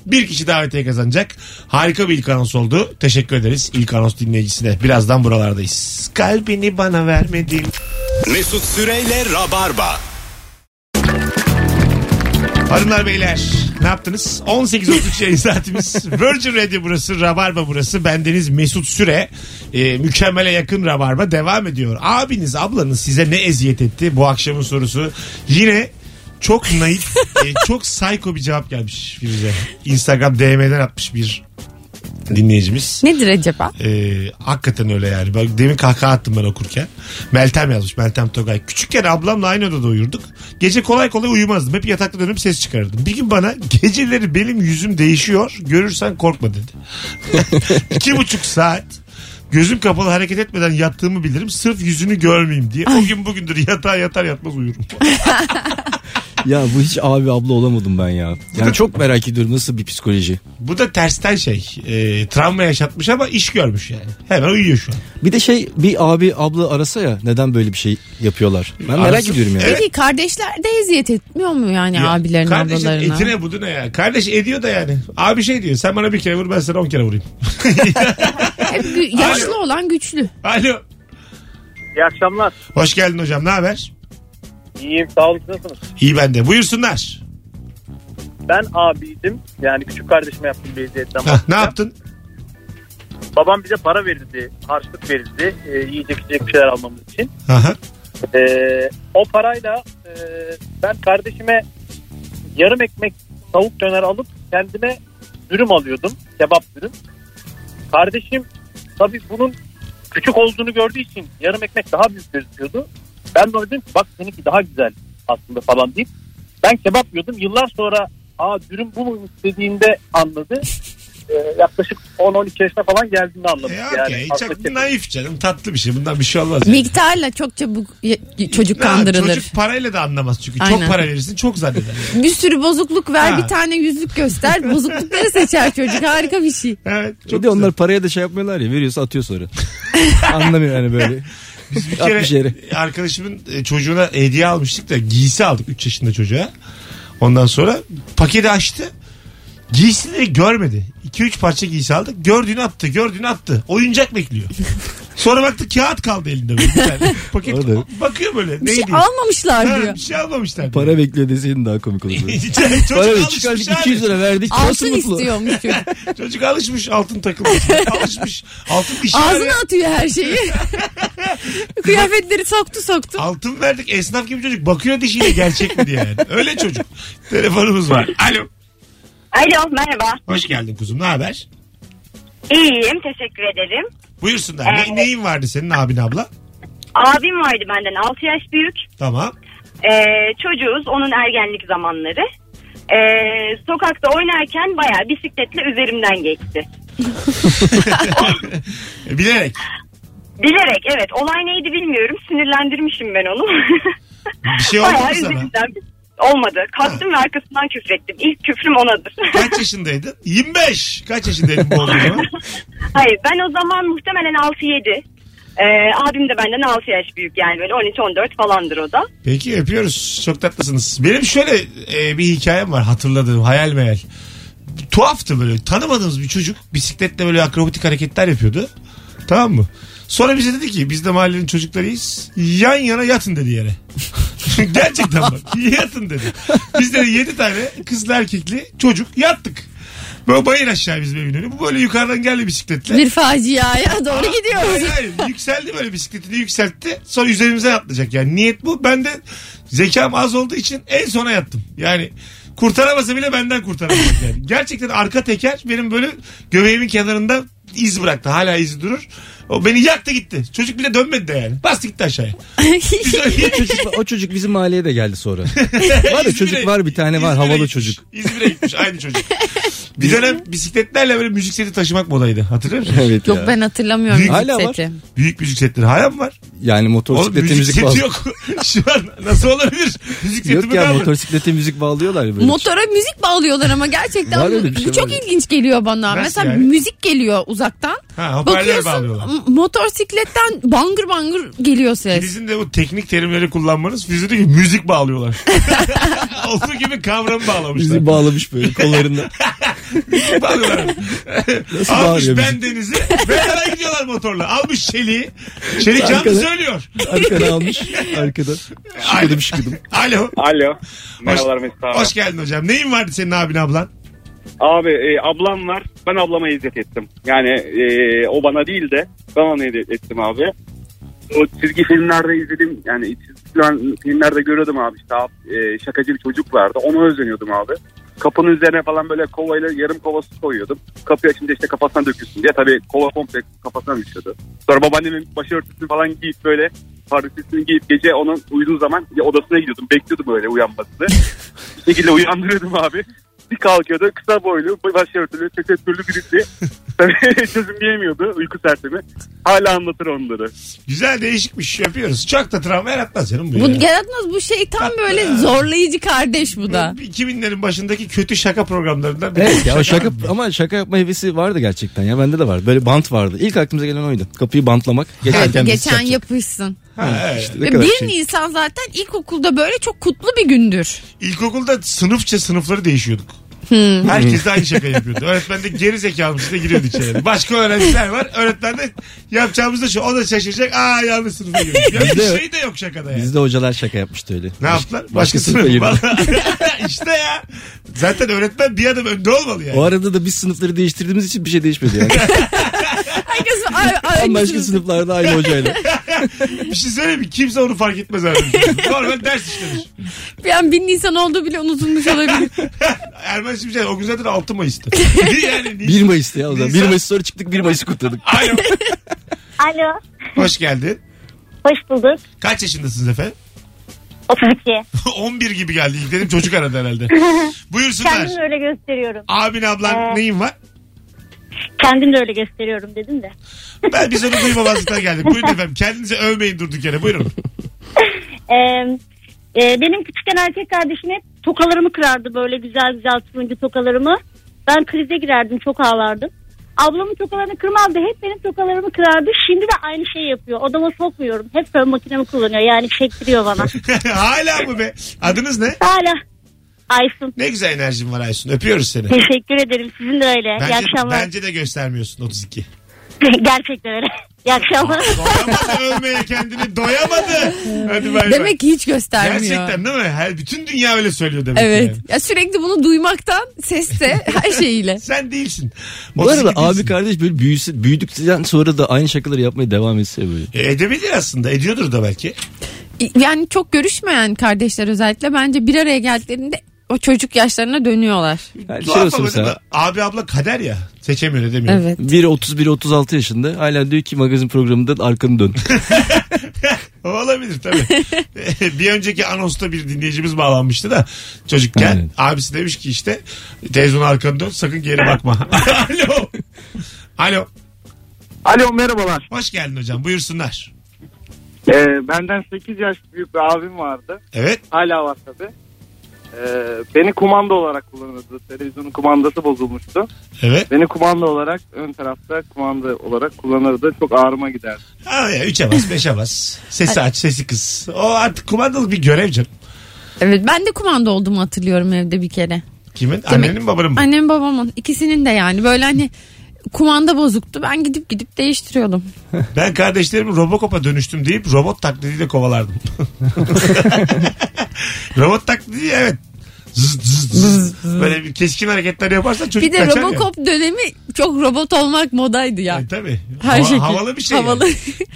[SPEAKER 2] Bir kişi davetiye kazanacak. Harika bir ilk anons oldu. Teşekkür ederiz ilk anons dinleyicisine. Birazdan buralardayız. Kalbini bana vermedin.
[SPEAKER 1] Mesut Süreyle Rabarba.
[SPEAKER 2] Hanımlar beyler ne yaptınız? 18.33 yayın saatimiz. Virgin Radio burası, Rabarba burası. Bendeniz Mesut Süre. Ee, mükemmele yakın Rabarba devam ediyor. Abiniz, ablanız size ne eziyet etti? Bu akşamın sorusu. Yine çok naif, e, çok psycho bir cevap gelmiş Firuze. Instagram DM'den atmış bir dinleyicimiz.
[SPEAKER 4] Nedir acaba?
[SPEAKER 2] Ee, hakikaten öyle yani. Bak, demin kahkaha attım ben okurken. Meltem yazmış. Meltem Togay. Küçükken ablamla aynı odada uyurduk. Gece kolay kolay uyumazdım. Hep yatakta dönüp ses çıkarırdım. Bir gün bana geceleri benim yüzüm değişiyor. Görürsen korkma dedi. İki buçuk saat gözüm kapalı hareket etmeden yattığımı bilirim. Sırf yüzünü görmeyeyim diye. O gün bugündür yatağa yatar yatmaz uyurum.
[SPEAKER 5] Ya bu hiç abi abla olamadım ben ya. Yani çok merak ediyorum nasıl bir psikoloji.
[SPEAKER 2] Bu da tersten şey. Ee, travma yaşatmış ama iş görmüş yani. Hemen uyuyor şu an.
[SPEAKER 5] Bir de şey bir abi abla arasa ya neden böyle bir şey yapıyorlar. Ben merak
[SPEAKER 2] Arasın.
[SPEAKER 5] ediyorum yani.
[SPEAKER 2] Evet.
[SPEAKER 4] Peki kardeşler de eziyet etmiyor mu yani
[SPEAKER 2] Ya,
[SPEAKER 4] abilerin
[SPEAKER 2] kardeşin
[SPEAKER 4] ablalarına?
[SPEAKER 2] etine budu ne ya? Kardeş ediyor da yani. Abi şey diyor sen bana bir kere vur ben sana on kere vurayım.
[SPEAKER 4] Hep gü- yaşlı olan güçlü.
[SPEAKER 2] Alo.
[SPEAKER 8] İyi akşamlar.
[SPEAKER 2] Hoş geldin hocam ne haber?
[SPEAKER 8] İyiyim sağ olun. Nasılsınız?
[SPEAKER 2] İyi bende. Buyursunlar.
[SPEAKER 8] Ben abiydim. Yani küçük kardeşime yaptığım bir eziyetten
[SPEAKER 2] Hah, ne
[SPEAKER 8] bahsedeceğim.
[SPEAKER 2] yaptın?
[SPEAKER 8] Babam bize para verirdi. Harçlık verirdi. e, yiyecek içecek bir şeyler almamız için.
[SPEAKER 2] Aha.
[SPEAKER 8] E, o parayla e, ben kardeşime yarım ekmek tavuk döner alıp kendime dürüm alıyordum. Kebap dürüm. Kardeşim tabii bunun küçük olduğunu gördüğü için yarım ekmek daha büyük gözüküyordu. Ben de ona dedim ki bak seninki daha güzel aslında falan deyip ben kebap yiyordum. Yıllar sonra aa dürüm bu mu istediğinde anladı. Ee, yaklaşık 10-12 yaşına falan geldiğinde anladı.
[SPEAKER 2] E,
[SPEAKER 8] yani
[SPEAKER 2] okey.
[SPEAKER 8] aslında
[SPEAKER 2] Çok
[SPEAKER 8] kebap.
[SPEAKER 2] naif canım. Tatlı bir şey. Bundan bir şey olmaz. yani.
[SPEAKER 4] Miktarla çok çabuk ye- çocuk
[SPEAKER 2] Ha,
[SPEAKER 4] kandırılır.
[SPEAKER 2] Çocuk parayla da anlamaz çünkü. Çok
[SPEAKER 4] Aynen.
[SPEAKER 2] para verirsin çok zanneder. yani.
[SPEAKER 4] Bir sürü bozukluk ver
[SPEAKER 2] Ha.
[SPEAKER 4] bir tane yüzlük göster. Bozuklukları seçer çocuk harika bir şey.
[SPEAKER 2] Evet. Çok
[SPEAKER 5] Bir de onlar paraya da şey yapmıyorlar ya veriyorsa atıyor sonra. Anlamıyor yani böyle.
[SPEAKER 2] bir
[SPEAKER 5] Atmış yeri.
[SPEAKER 2] kere arkadaşımın e, çocuğuna hediye almıştık da giysi aldık 3 yaşında çocuğa. Ondan sonra paketi açtı. Giysileri görmedi. 2-3 parça giysi aldık. Gördüğünü attı, gördüğünü attı. Oyuncak bekliyor. Sonra baktı kağıt kaldı elinde böyle. bir tane. Paket
[SPEAKER 5] Orada.
[SPEAKER 2] bakıyor böyle.
[SPEAKER 4] Bir şey
[SPEAKER 2] Neydi?
[SPEAKER 4] almamışlar
[SPEAKER 2] Ha,
[SPEAKER 4] diyor.
[SPEAKER 2] bir şey almamışlar.
[SPEAKER 5] Para bekliyor deseydin daha komik olurdu.
[SPEAKER 2] Çocuk
[SPEAKER 5] Para bekliyor.
[SPEAKER 2] alışmış
[SPEAKER 5] Çıkardık
[SPEAKER 2] abi.
[SPEAKER 5] 200 lira verdik. Nasıl
[SPEAKER 4] Altın
[SPEAKER 5] mutlu?
[SPEAKER 4] istiyormuş çocuk.
[SPEAKER 2] Çocuk alışmış altın takılmasına. alışmış. Altın şey işi
[SPEAKER 4] Ağzına
[SPEAKER 2] var ya.
[SPEAKER 4] atıyor her şeyi. Kıyafetleri soktu soktu.
[SPEAKER 2] Altın verdik esnaf gibi çocuk. Bakıyor dişiyle gerçek mi diye yani. Öyle çocuk. Telefonumuz var. Alo.
[SPEAKER 10] Alo merhaba.
[SPEAKER 2] Hoş geldin kuzum. Ne haber?
[SPEAKER 10] İyiyim teşekkür ederim.
[SPEAKER 2] Buyursunlar. Ne,
[SPEAKER 10] Evet.
[SPEAKER 2] neyin vardı senin abin abla?
[SPEAKER 10] Abim vardı benden 6 yaş büyük.
[SPEAKER 2] Tamam.
[SPEAKER 10] Ee, çocuğuz onun ergenlik zamanları. Ee, sokakta oynarken bayağı bisikletle üzerimden geçti.
[SPEAKER 2] E, Bilerek.
[SPEAKER 10] Bilerek evet olay neydi bilmiyorum sinirlendirmişim ben onu.
[SPEAKER 2] Bir şey oldu mu
[SPEAKER 10] Bayağı
[SPEAKER 2] sana?
[SPEAKER 10] üzerimden olmadı. Kalktım ve arkasından küfrettim. İlk küfrüm onadır.
[SPEAKER 2] Kaç yaşındaydın? 25. Kaç yaşındaydın bu olduğu zaman?
[SPEAKER 10] Hayır ben o zaman muhtemelen 6-7. Ee, abim de benden 6 yaş büyük yani böyle 13-14 falandır o da.
[SPEAKER 2] Peki öpüyoruz. Çok tatlısınız. Benim şöyle e, bir hikayem var hatırladığım hayal meyal. Tuhaftı böyle tanımadığımız bir çocuk bisikletle böyle akrobatik hareketler yapıyordu. Tamam mı? Sonra bize dedi ki biz de mahallenin çocuklarıyız. Yan yana yatın dedi yere. Gerçekten bak yatın dedi. Biz de 7 tane kızlı erkekli çocuk yattık. Böyle bayır aşağı bizim evin önü. Bu böyle yukarıdan geldi bisikletle.
[SPEAKER 4] Bir faciaya doğru gidiyoruz.
[SPEAKER 2] Hayır, hayır. yükseldi böyle bisikletini yükseltti. Sonra üzerimize atlayacak yani. Niyet bu. Ben de zekam az olduğu için en sona yattım. Yani kurtaramasa bile benden kurtaramayacak yani. Gerçekten arka teker benim böyle göbeğimin kenarında iz bıraktı. Hala izi durur. O beni yaktı gitti. Çocuk bile dönmedi de yani. Bastı gitti aşağıya. Biz öyle-
[SPEAKER 5] Çocuk- o çocuk bizim mahalleye de geldi sonra. var ya
[SPEAKER 2] İzmir'e-
[SPEAKER 5] çocuk var bir tane var
[SPEAKER 2] İzmir'e
[SPEAKER 5] havalı
[SPEAKER 2] gitmiş.
[SPEAKER 5] çocuk.
[SPEAKER 2] İzmir'e gitmiş aynı çocuk. Bir dönem bisikletlerle böyle müzik seti taşımak modaydı. Hatırlıyor musun?
[SPEAKER 5] Evet
[SPEAKER 4] Yok
[SPEAKER 5] ya.
[SPEAKER 4] ben hatırlamıyorum
[SPEAKER 2] Büyük-
[SPEAKER 5] Hala var.
[SPEAKER 4] seti.
[SPEAKER 2] Büyük müzik setleri hala mı var?
[SPEAKER 5] Yani
[SPEAKER 2] Oğlum
[SPEAKER 5] motosiklete
[SPEAKER 2] müzik,
[SPEAKER 5] müzik
[SPEAKER 2] seti
[SPEAKER 5] bağlı. Yok,
[SPEAKER 2] yok. Şu an nasıl olabilir? Müzik seti mi
[SPEAKER 5] ya
[SPEAKER 2] kaldı?
[SPEAKER 5] motosiklete müzik bağlıyorlar ya böyle.
[SPEAKER 4] Motora müzik bağlıyorlar ama gerçekten
[SPEAKER 5] şey. Var
[SPEAKER 4] bu,
[SPEAKER 5] öyle bir şey
[SPEAKER 4] bu çok
[SPEAKER 5] var.
[SPEAKER 4] ilginç geliyor bana.
[SPEAKER 2] Nasıl
[SPEAKER 4] Mesela
[SPEAKER 2] yani?
[SPEAKER 4] müzik geliyor uzaktan.
[SPEAKER 2] Ha, hoparlör
[SPEAKER 4] Bakıyorsun
[SPEAKER 2] bağlıyorlar.
[SPEAKER 4] m- motosikletten bangır bangır geliyor ses.
[SPEAKER 2] Sizin de bu teknik terimleri kullanmanız Fizi diyor ki müzik bağlıyorlar. Olduğu gibi kavramı bağlamışlar.
[SPEAKER 5] Bizi bağlamış böyle kollarında.
[SPEAKER 2] Müzik bağlıyorlar. Almış
[SPEAKER 5] Nasıl bağırıyor
[SPEAKER 2] ben
[SPEAKER 5] bizi?
[SPEAKER 2] denizi. Beraber gidiyorlar motorla. Almış çeliği. Çelik
[SPEAKER 5] Arkada.
[SPEAKER 2] canlı söylüyor.
[SPEAKER 5] Arkana almış. Arkadan. Şıkıdım şıkıdım.
[SPEAKER 2] Alo.
[SPEAKER 1] Alo. Merhabalar Mesut abi.
[SPEAKER 2] Hoş geldin hocam. Neyin vardı senin abin ablan?
[SPEAKER 1] Abi e, ablam var. Ben ablama izzet ettim. Yani e, o bana değil de ben ona izzet ettim abi. O çizgi filmlerde izledim. Yani çizgi film- filmlerde görüyordum abi işte ab- e, şakacı bir çocuk vardı. Ona özeniyordum abi. Kapının üzerine falan böyle kovayla yarım kova su koyuyordum. Kapıyı açınca işte kafasına dökülsün diye. Tabii kova komple kafasına düşüyordu. Sonra babaannemin başörtüsünü falan giyip böyle pardesüsünü giyip gece onun uyuduğu zaman ya odasına gidiyordum. Bekliyordum öyle uyanmasını. bir şekilde uyandırıyordum abi. Bir kalkıyordu kısa boylu, başörtülü, tesettürlü birisi. Tabii çözümleyemiyordu uyku sertimi. Hala anlatır onları.
[SPEAKER 2] Güzel değişikmiş. Yapıyoruz. Çok da travma yaratmaz canım bu.
[SPEAKER 4] Bu
[SPEAKER 2] ya.
[SPEAKER 4] yaratmaz bu şey tam
[SPEAKER 2] Tatlı.
[SPEAKER 4] böyle zorlayıcı kardeş bu da.
[SPEAKER 2] 2000'lerin başındaki kötü şaka programlarından. bir
[SPEAKER 5] Evet ya o şaka
[SPEAKER 2] mı?
[SPEAKER 5] ama şaka yapma hevesi vardı gerçekten ya bende de var. Böyle bant vardı. İlk aklımıza gelen oydu. Kapıyı bantlamak. Geçerken
[SPEAKER 4] Evet,
[SPEAKER 5] birisi
[SPEAKER 4] geçen
[SPEAKER 5] çarpacak.
[SPEAKER 4] yapışsın.
[SPEAKER 2] Ha, evet.
[SPEAKER 5] İşte ne
[SPEAKER 4] Ve
[SPEAKER 5] kadar
[SPEAKER 4] 1
[SPEAKER 5] şey.
[SPEAKER 4] Nisan zaten ilkokulda böyle çok kutlu bir gündür.
[SPEAKER 2] İlkokulda sınıfça sınıfları değişiyorduk. Herkes de aynı şaka yapıyordu. Öğretmen de geri zekalı işte giriyordu içeri. Başka öğrenciler var. Öğretmen de yapacağımız da şu. O da şaşıracak. Aa yanlış sınıfa girdi. Yani
[SPEAKER 5] Bizde
[SPEAKER 2] bir
[SPEAKER 5] yok.
[SPEAKER 2] şey de yok şakada yani.
[SPEAKER 5] Bizde hocalar şaka yapmıştı öyle.
[SPEAKER 2] Ne yaptılar? Başka,
[SPEAKER 5] Başka
[SPEAKER 2] sınıf.
[SPEAKER 5] sınıfa girdi.
[SPEAKER 2] Vallahi. işte ya. Zaten öğretmen bir adım önde olmalı yani.
[SPEAKER 5] O arada da biz sınıfları değiştirdiğimiz için bir şey değişmedi yani.
[SPEAKER 4] Herkes ay, ay,
[SPEAKER 5] Ama başka sınıflarda aynı hocayla.
[SPEAKER 2] Bir şey söyleyeyim mi? Kimse onu fark etmez abi. Normal ders işlemiş.
[SPEAKER 4] yani 1 Nisan olduğu bile unutulmuş olabilir.
[SPEAKER 2] Erman Şimşek o gün zaten 6 Mayıs'tı. yani,
[SPEAKER 5] 1 Mayıs'tı ya o zaman.
[SPEAKER 2] Nisan-
[SPEAKER 5] 1 Mayıs sonra çıktık 1 Mayıs'ı kutladık.
[SPEAKER 2] Alo.
[SPEAKER 10] Alo
[SPEAKER 2] Hoş geldin.
[SPEAKER 10] hoş bulduk.
[SPEAKER 2] Kaç yaşındasınız efendim?
[SPEAKER 10] 32.
[SPEAKER 2] 11 gibi geldi. İlk dedim çocuk aradı herhalde. Buyursunlar.
[SPEAKER 10] Kendimi öyle gösteriyorum.
[SPEAKER 2] Abin ablan
[SPEAKER 10] Ee,
[SPEAKER 2] neyin var?
[SPEAKER 10] Kendimi de öyle gösteriyorum dedim de.
[SPEAKER 2] Ben biz onu duymamazlıktan geldik. Buyurun efendim. Kendinizi övmeyin durduk yere. Buyurun.
[SPEAKER 10] Ee, e, benim küçükken erkek kardeşim hep tokalarımı kırardı böyle güzel güzel turuncu tokalarımı. Ben krize girerdim çok ağlardım. Ablamın tokalarını kırmazdı hep benim tokalarımı kırardı. Şimdi de aynı şeyi yapıyor. Odama sokmuyorum. Hep fön makinemi kullanıyor yani çektiriyor bana.
[SPEAKER 2] Hala mı be? Adınız ne?
[SPEAKER 10] Hala Aysun.
[SPEAKER 2] Ne güzel enerjin var Aysun. Öpüyoruz seni.
[SPEAKER 10] Teşekkür ederim. Sizin de öyle. İyi
[SPEAKER 2] Bence,
[SPEAKER 10] akşamlar.
[SPEAKER 2] bence de göstermiyorsun 32.
[SPEAKER 11] Gerçekten öyle. İyi akşamlar.
[SPEAKER 2] Doyamadı övmeye kendini doyamadı. Hadi bay bay.
[SPEAKER 4] Demek ki hiç göstermiyor.
[SPEAKER 2] Gerçekten değil mi? Her, bütün dünya öyle söylüyor demek ki
[SPEAKER 4] Evet.
[SPEAKER 2] yani.
[SPEAKER 4] Ya sürekli bunu duymaktan seste her şeyiyle.
[SPEAKER 2] Sen değilsin.
[SPEAKER 5] Bu arada
[SPEAKER 2] Motosiklet
[SPEAKER 5] abi
[SPEAKER 2] değilsin.
[SPEAKER 5] kardeş böyle büyüsü, büyüdükten sonra da aynı şakaları yapmaya devam etse böyle.
[SPEAKER 2] E, Edebilir aslında. Ediyordur da belki.
[SPEAKER 4] Yani çok görüşmeyen kardeşler özellikle bence bir araya geldiklerinde o çocuk yaşlarına dönüyorlar.
[SPEAKER 5] Her şey
[SPEAKER 2] Tuhaf
[SPEAKER 5] olsun
[SPEAKER 2] ama değil mi?
[SPEAKER 5] mesela.
[SPEAKER 2] Abi abla kader ya. Seçemiyor edemiyor.
[SPEAKER 4] Evet.
[SPEAKER 5] Biri 30 biri 36 yaşında hala diyor ki magazin programında arkanı dön.
[SPEAKER 2] Olabilir tabii. bir önceki anonsta bir dinleyicimiz bağlanmıştı da çocukken
[SPEAKER 5] Aynen.
[SPEAKER 2] abisi demiş ki işte televizyonun arkanı dön sakın geri bakma. Alo. Alo.
[SPEAKER 7] Alo merhabalar.
[SPEAKER 2] Hoş geldin hocam buyursunlar.
[SPEAKER 7] Ee, benden 8 yaş büyük bir abim vardı.
[SPEAKER 2] Evet.
[SPEAKER 7] Hala var tabi. Ee, beni kumanda olarak kullanırdı. Televizyonun kumandası bozulmuştu.
[SPEAKER 2] Evet.
[SPEAKER 7] Beni kumanda olarak ön tarafta kumanda olarak kullanırdı. Çok ağrıma giderdi.
[SPEAKER 2] Ha ya 3'e bas 5'e bas. Sesi aç sesi kız. O artık kumandalık bir görev canım.
[SPEAKER 4] Evet ben de kumanda olduğumu hatırlıyorum evde bir kere.
[SPEAKER 2] Kimin? Annenin mi, babanın mı?
[SPEAKER 4] Annem babamın ikisinin de yani böyle hani kumanda bozuktu. Ben gidip gidip değiştiriyordum.
[SPEAKER 2] Ben kardeşlerimi Robocop'a dönüştüm deyip robot taklidiyle kovalardım. robot taklidi evet. Zız, zız, zız. Böyle bir keskin hareketler yaparsan çocuk
[SPEAKER 4] Bir de
[SPEAKER 2] kaçar ya.
[SPEAKER 4] Robocop dönemi çok robot olmak modaydı ya.
[SPEAKER 2] E, tabii.
[SPEAKER 4] Her
[SPEAKER 2] Hava-
[SPEAKER 4] şekil.
[SPEAKER 2] Havalı bir şey. yani.
[SPEAKER 4] Havalı.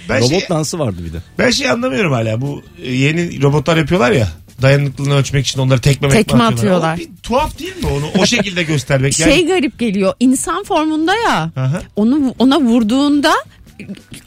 [SPEAKER 2] Ben, şey,
[SPEAKER 5] Robot dansı vardı bir de.
[SPEAKER 2] ben şey anlamıyorum hala. Bu e, yeni robotlar yapıyorlar ya. Dayanıklılığını ölçmek için onları tekme
[SPEAKER 4] Tekme
[SPEAKER 2] mekme
[SPEAKER 4] atıyorlar.
[SPEAKER 2] O bir tuhaf değil mi onu o şekilde göstermek? Yani,
[SPEAKER 4] şey garip geliyor. İnsan formunda ya.
[SPEAKER 2] Aha.
[SPEAKER 4] Onu ona vurduğunda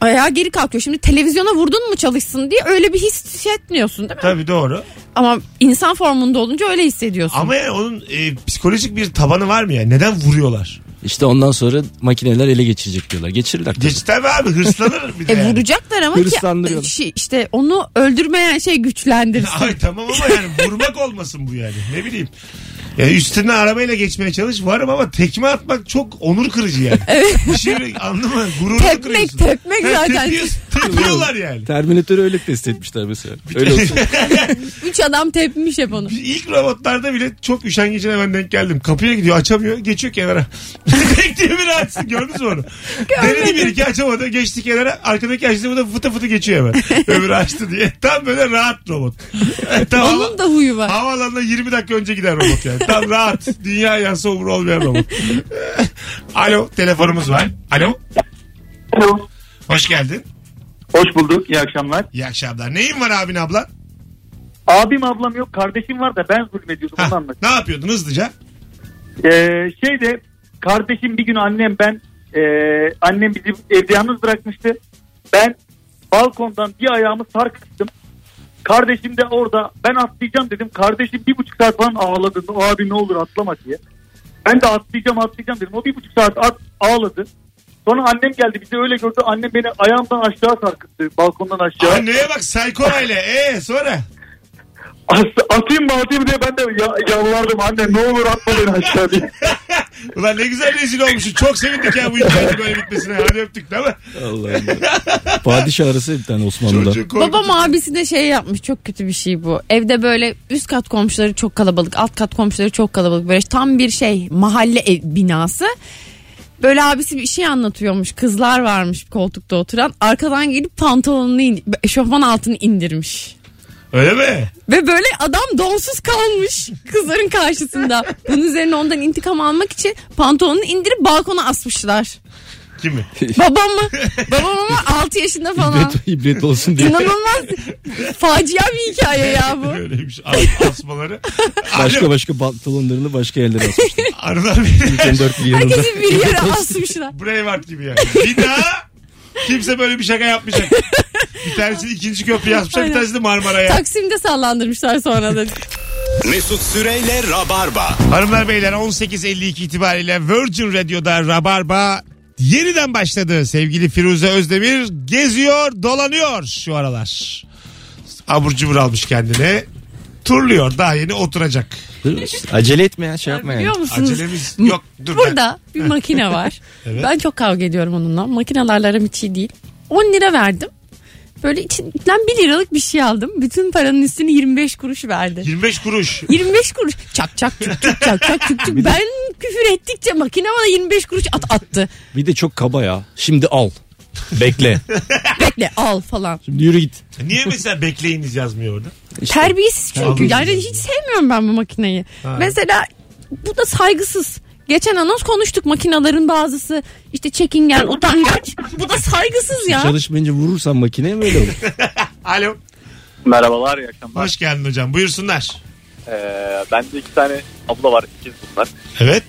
[SPEAKER 4] ayağa geri kalkıyor. Şimdi televizyona vurdun mu çalışsın diye öyle bir his hissetmiyorsun değil mi?
[SPEAKER 2] Tabii doğru.
[SPEAKER 4] Ama insan formunda olunca öyle hissediyorsun.
[SPEAKER 2] Ama yani onun e, psikolojik bir tabanı var mı ya? Neden vuruyorlar?
[SPEAKER 5] İşte ondan sonra makineler ele geçirecek diyorlar. Geçirirler. tabii.
[SPEAKER 2] Geç tabii abi hırslanır bir de.
[SPEAKER 4] E
[SPEAKER 2] yani.
[SPEAKER 4] vuracaklar ama ki
[SPEAKER 5] Hırslandırıyorlar.
[SPEAKER 4] şey, işte onu öldürmeyen şey güçlendirsin.
[SPEAKER 2] Ay tamam ama yani vurmak olmasın bu yani. Ne bileyim. Ya üstüne arabayla geçmeye çalış varım ama tekme atmak çok onur kırıcı yani. Evet. Bir şey anlama gururunu
[SPEAKER 4] Tepmek,
[SPEAKER 2] kırıyorsun.
[SPEAKER 4] tepmek
[SPEAKER 2] Ha,
[SPEAKER 4] zaten.
[SPEAKER 2] tepiyorsun, Tepiyorlar yani.
[SPEAKER 5] Terminatörü öyle test etmişler mesela. Öyle olsun.
[SPEAKER 4] Üç adam tepmiş hep onu.
[SPEAKER 2] Biz İlk robotlarda bile çok üşengecine ben denk geldim. Kapıya gidiyor açamıyor geçiyor kenara. Bekliyor bir açsın gördünüz mü onu? Denedi bir iki açamadı geçti kenara. Arkadaki açtı bu da fıtı fıtı geçiyor hemen. Öbürü açtı diye. Tam böyle rahat robot. E, tamam.
[SPEAKER 4] Onun da huyu var.
[SPEAKER 2] Havaalanına 20 dakika önce gider robot yani. Tam rahat. Dünya yansa umur olmayan robot. Alo telefonumuz var. Alo.
[SPEAKER 7] Alo.
[SPEAKER 2] Hoş geldin.
[SPEAKER 7] Hoş bulduk. İyi akşamlar.
[SPEAKER 2] İyi akşamlar. Neyin var abin abla?
[SPEAKER 7] Abim ablam yok. Kardeşim var da ben zulmediyordum.
[SPEAKER 2] Hah,
[SPEAKER 7] Onu anlat.
[SPEAKER 2] ne yapıyordun hızlıca?
[SPEAKER 7] Ee, şey de kardeşim bir gün annem ben e, annem bizi evde yalnız bırakmıştı. Ben balkondan bir ayağımı sarkıttım. Kardeşim de orada ben atlayacağım dedim. Kardeşim bir buçuk saat falan ağladı. O abi ne olur atlama diye. Ben de atlayacağım atlayacağım dedim. O bir buçuk saat at, ağladı. Sonra annem geldi bizi öyle gördü. Annem beni ayağımdan aşağı sarkıttı. Balkondan aşağı.
[SPEAKER 2] Anneye bak psycho aile. Ee sonra?
[SPEAKER 7] As- atayım mı atayım diye ben de ya- yalvardım. Anne ne olur atma beni aşağı diye.
[SPEAKER 2] Ulan ne güzel rezil olmuşsun. Çok sevindik ya bu hikayenin böyle bitmesine. Hadi öptük değil mi?
[SPEAKER 5] Allah'ım. Padişah arası bir tane Osmanlı'da.
[SPEAKER 2] Çocuğu korkutucu.
[SPEAKER 4] Babam abisi de şey yapmış çok kötü bir şey bu. Evde böyle üst kat komşuları çok kalabalık, alt kat komşuları çok kalabalık. Böyle tam bir şey mahalle ev- binası. Böyle abisi bir şey anlatıyormuş. Kızlar varmış koltukta oturan. Arkadan gelip pantolonunu, in- eşofman altını indirmiş.
[SPEAKER 2] Öyle mi?
[SPEAKER 4] Ve böyle adam donsuz kalmış kızların karşısında. Bunun üzerine ondan intikam almak için pantolonunu indirip balkona asmışlar.
[SPEAKER 2] Kimi?
[SPEAKER 4] Babam mı? Babam ama 6 yaşında falan.
[SPEAKER 5] İbret, ibret olsun diye.
[SPEAKER 4] İnanılmaz facia bir hikaye ya bu.
[SPEAKER 2] Öyleymiş. As- Asmaları.
[SPEAKER 5] Başka
[SPEAKER 2] Alo.
[SPEAKER 5] başka pantolonlarını başka yerlere asmış.
[SPEAKER 2] Arılar bir
[SPEAKER 5] Ülkenin dört bir yanında.
[SPEAKER 4] Herkesi bir yere asmışlar.
[SPEAKER 2] Braveheart gibi yani. Bir daha kimse böyle bir şaka yapmayacak. Bir tanesi ikinci köprüye yapacak bir
[SPEAKER 4] Aynen.
[SPEAKER 2] tanesi de Marmara'ya.
[SPEAKER 4] Taksim'de sallandırmışlar sonra da.
[SPEAKER 1] Mesut Süreyle Rabarba.
[SPEAKER 2] Hanımlar beyler 18.52 itibariyle Virgin Radio'da Rabarba yeniden başladı. Sevgili Firuze Özdemir geziyor dolanıyor şu aralar. Abur cubur almış kendine. Turluyor daha yeni oturacak.
[SPEAKER 5] Acele etme ya şey yapma yani.
[SPEAKER 4] Biliyor musunuz?
[SPEAKER 2] Acelemiz yok dur ben.
[SPEAKER 4] Burada bir makine var.
[SPEAKER 2] Evet.
[SPEAKER 4] Ben çok kavga ediyorum onunla. Makinelerle aram hiç iyi değil. 10 lira verdim. Böyle içinden 1 liralık bir şey aldım. Bütün paranın üstüne 25 kuruş verdi.
[SPEAKER 2] 25 kuruş.
[SPEAKER 4] 25 kuruş. Çak çak çuk çuk çak çak çuk çuk. Ben küfür ettikçe makine bana 25 kuruş at attı.
[SPEAKER 5] Bir de çok kaba ya. Şimdi al. Bekle.
[SPEAKER 4] Bekle al falan.
[SPEAKER 5] Şimdi yürü git.
[SPEAKER 2] Niye mesela bekleyiniz yazmıyor orada?
[SPEAKER 4] Terbiyesiz çünkü.
[SPEAKER 2] Terbiyesiz.
[SPEAKER 4] Yani hiç sevmiyorum ben bu makineyi. Mesela bu da saygısız. Geçen anons konuştuk makinelerin bazısı işte çekingen, utangaç. Bu da saygısız ya.
[SPEAKER 5] Çalışmayınca vurursan makineye böyle olur.
[SPEAKER 2] Alo.
[SPEAKER 12] Merhabalar iyi akşamlar.
[SPEAKER 2] Hoş geldin hocam. Buyursunlar.
[SPEAKER 12] Ee, bende iki tane abla var ikiz bunlar.
[SPEAKER 2] Evet.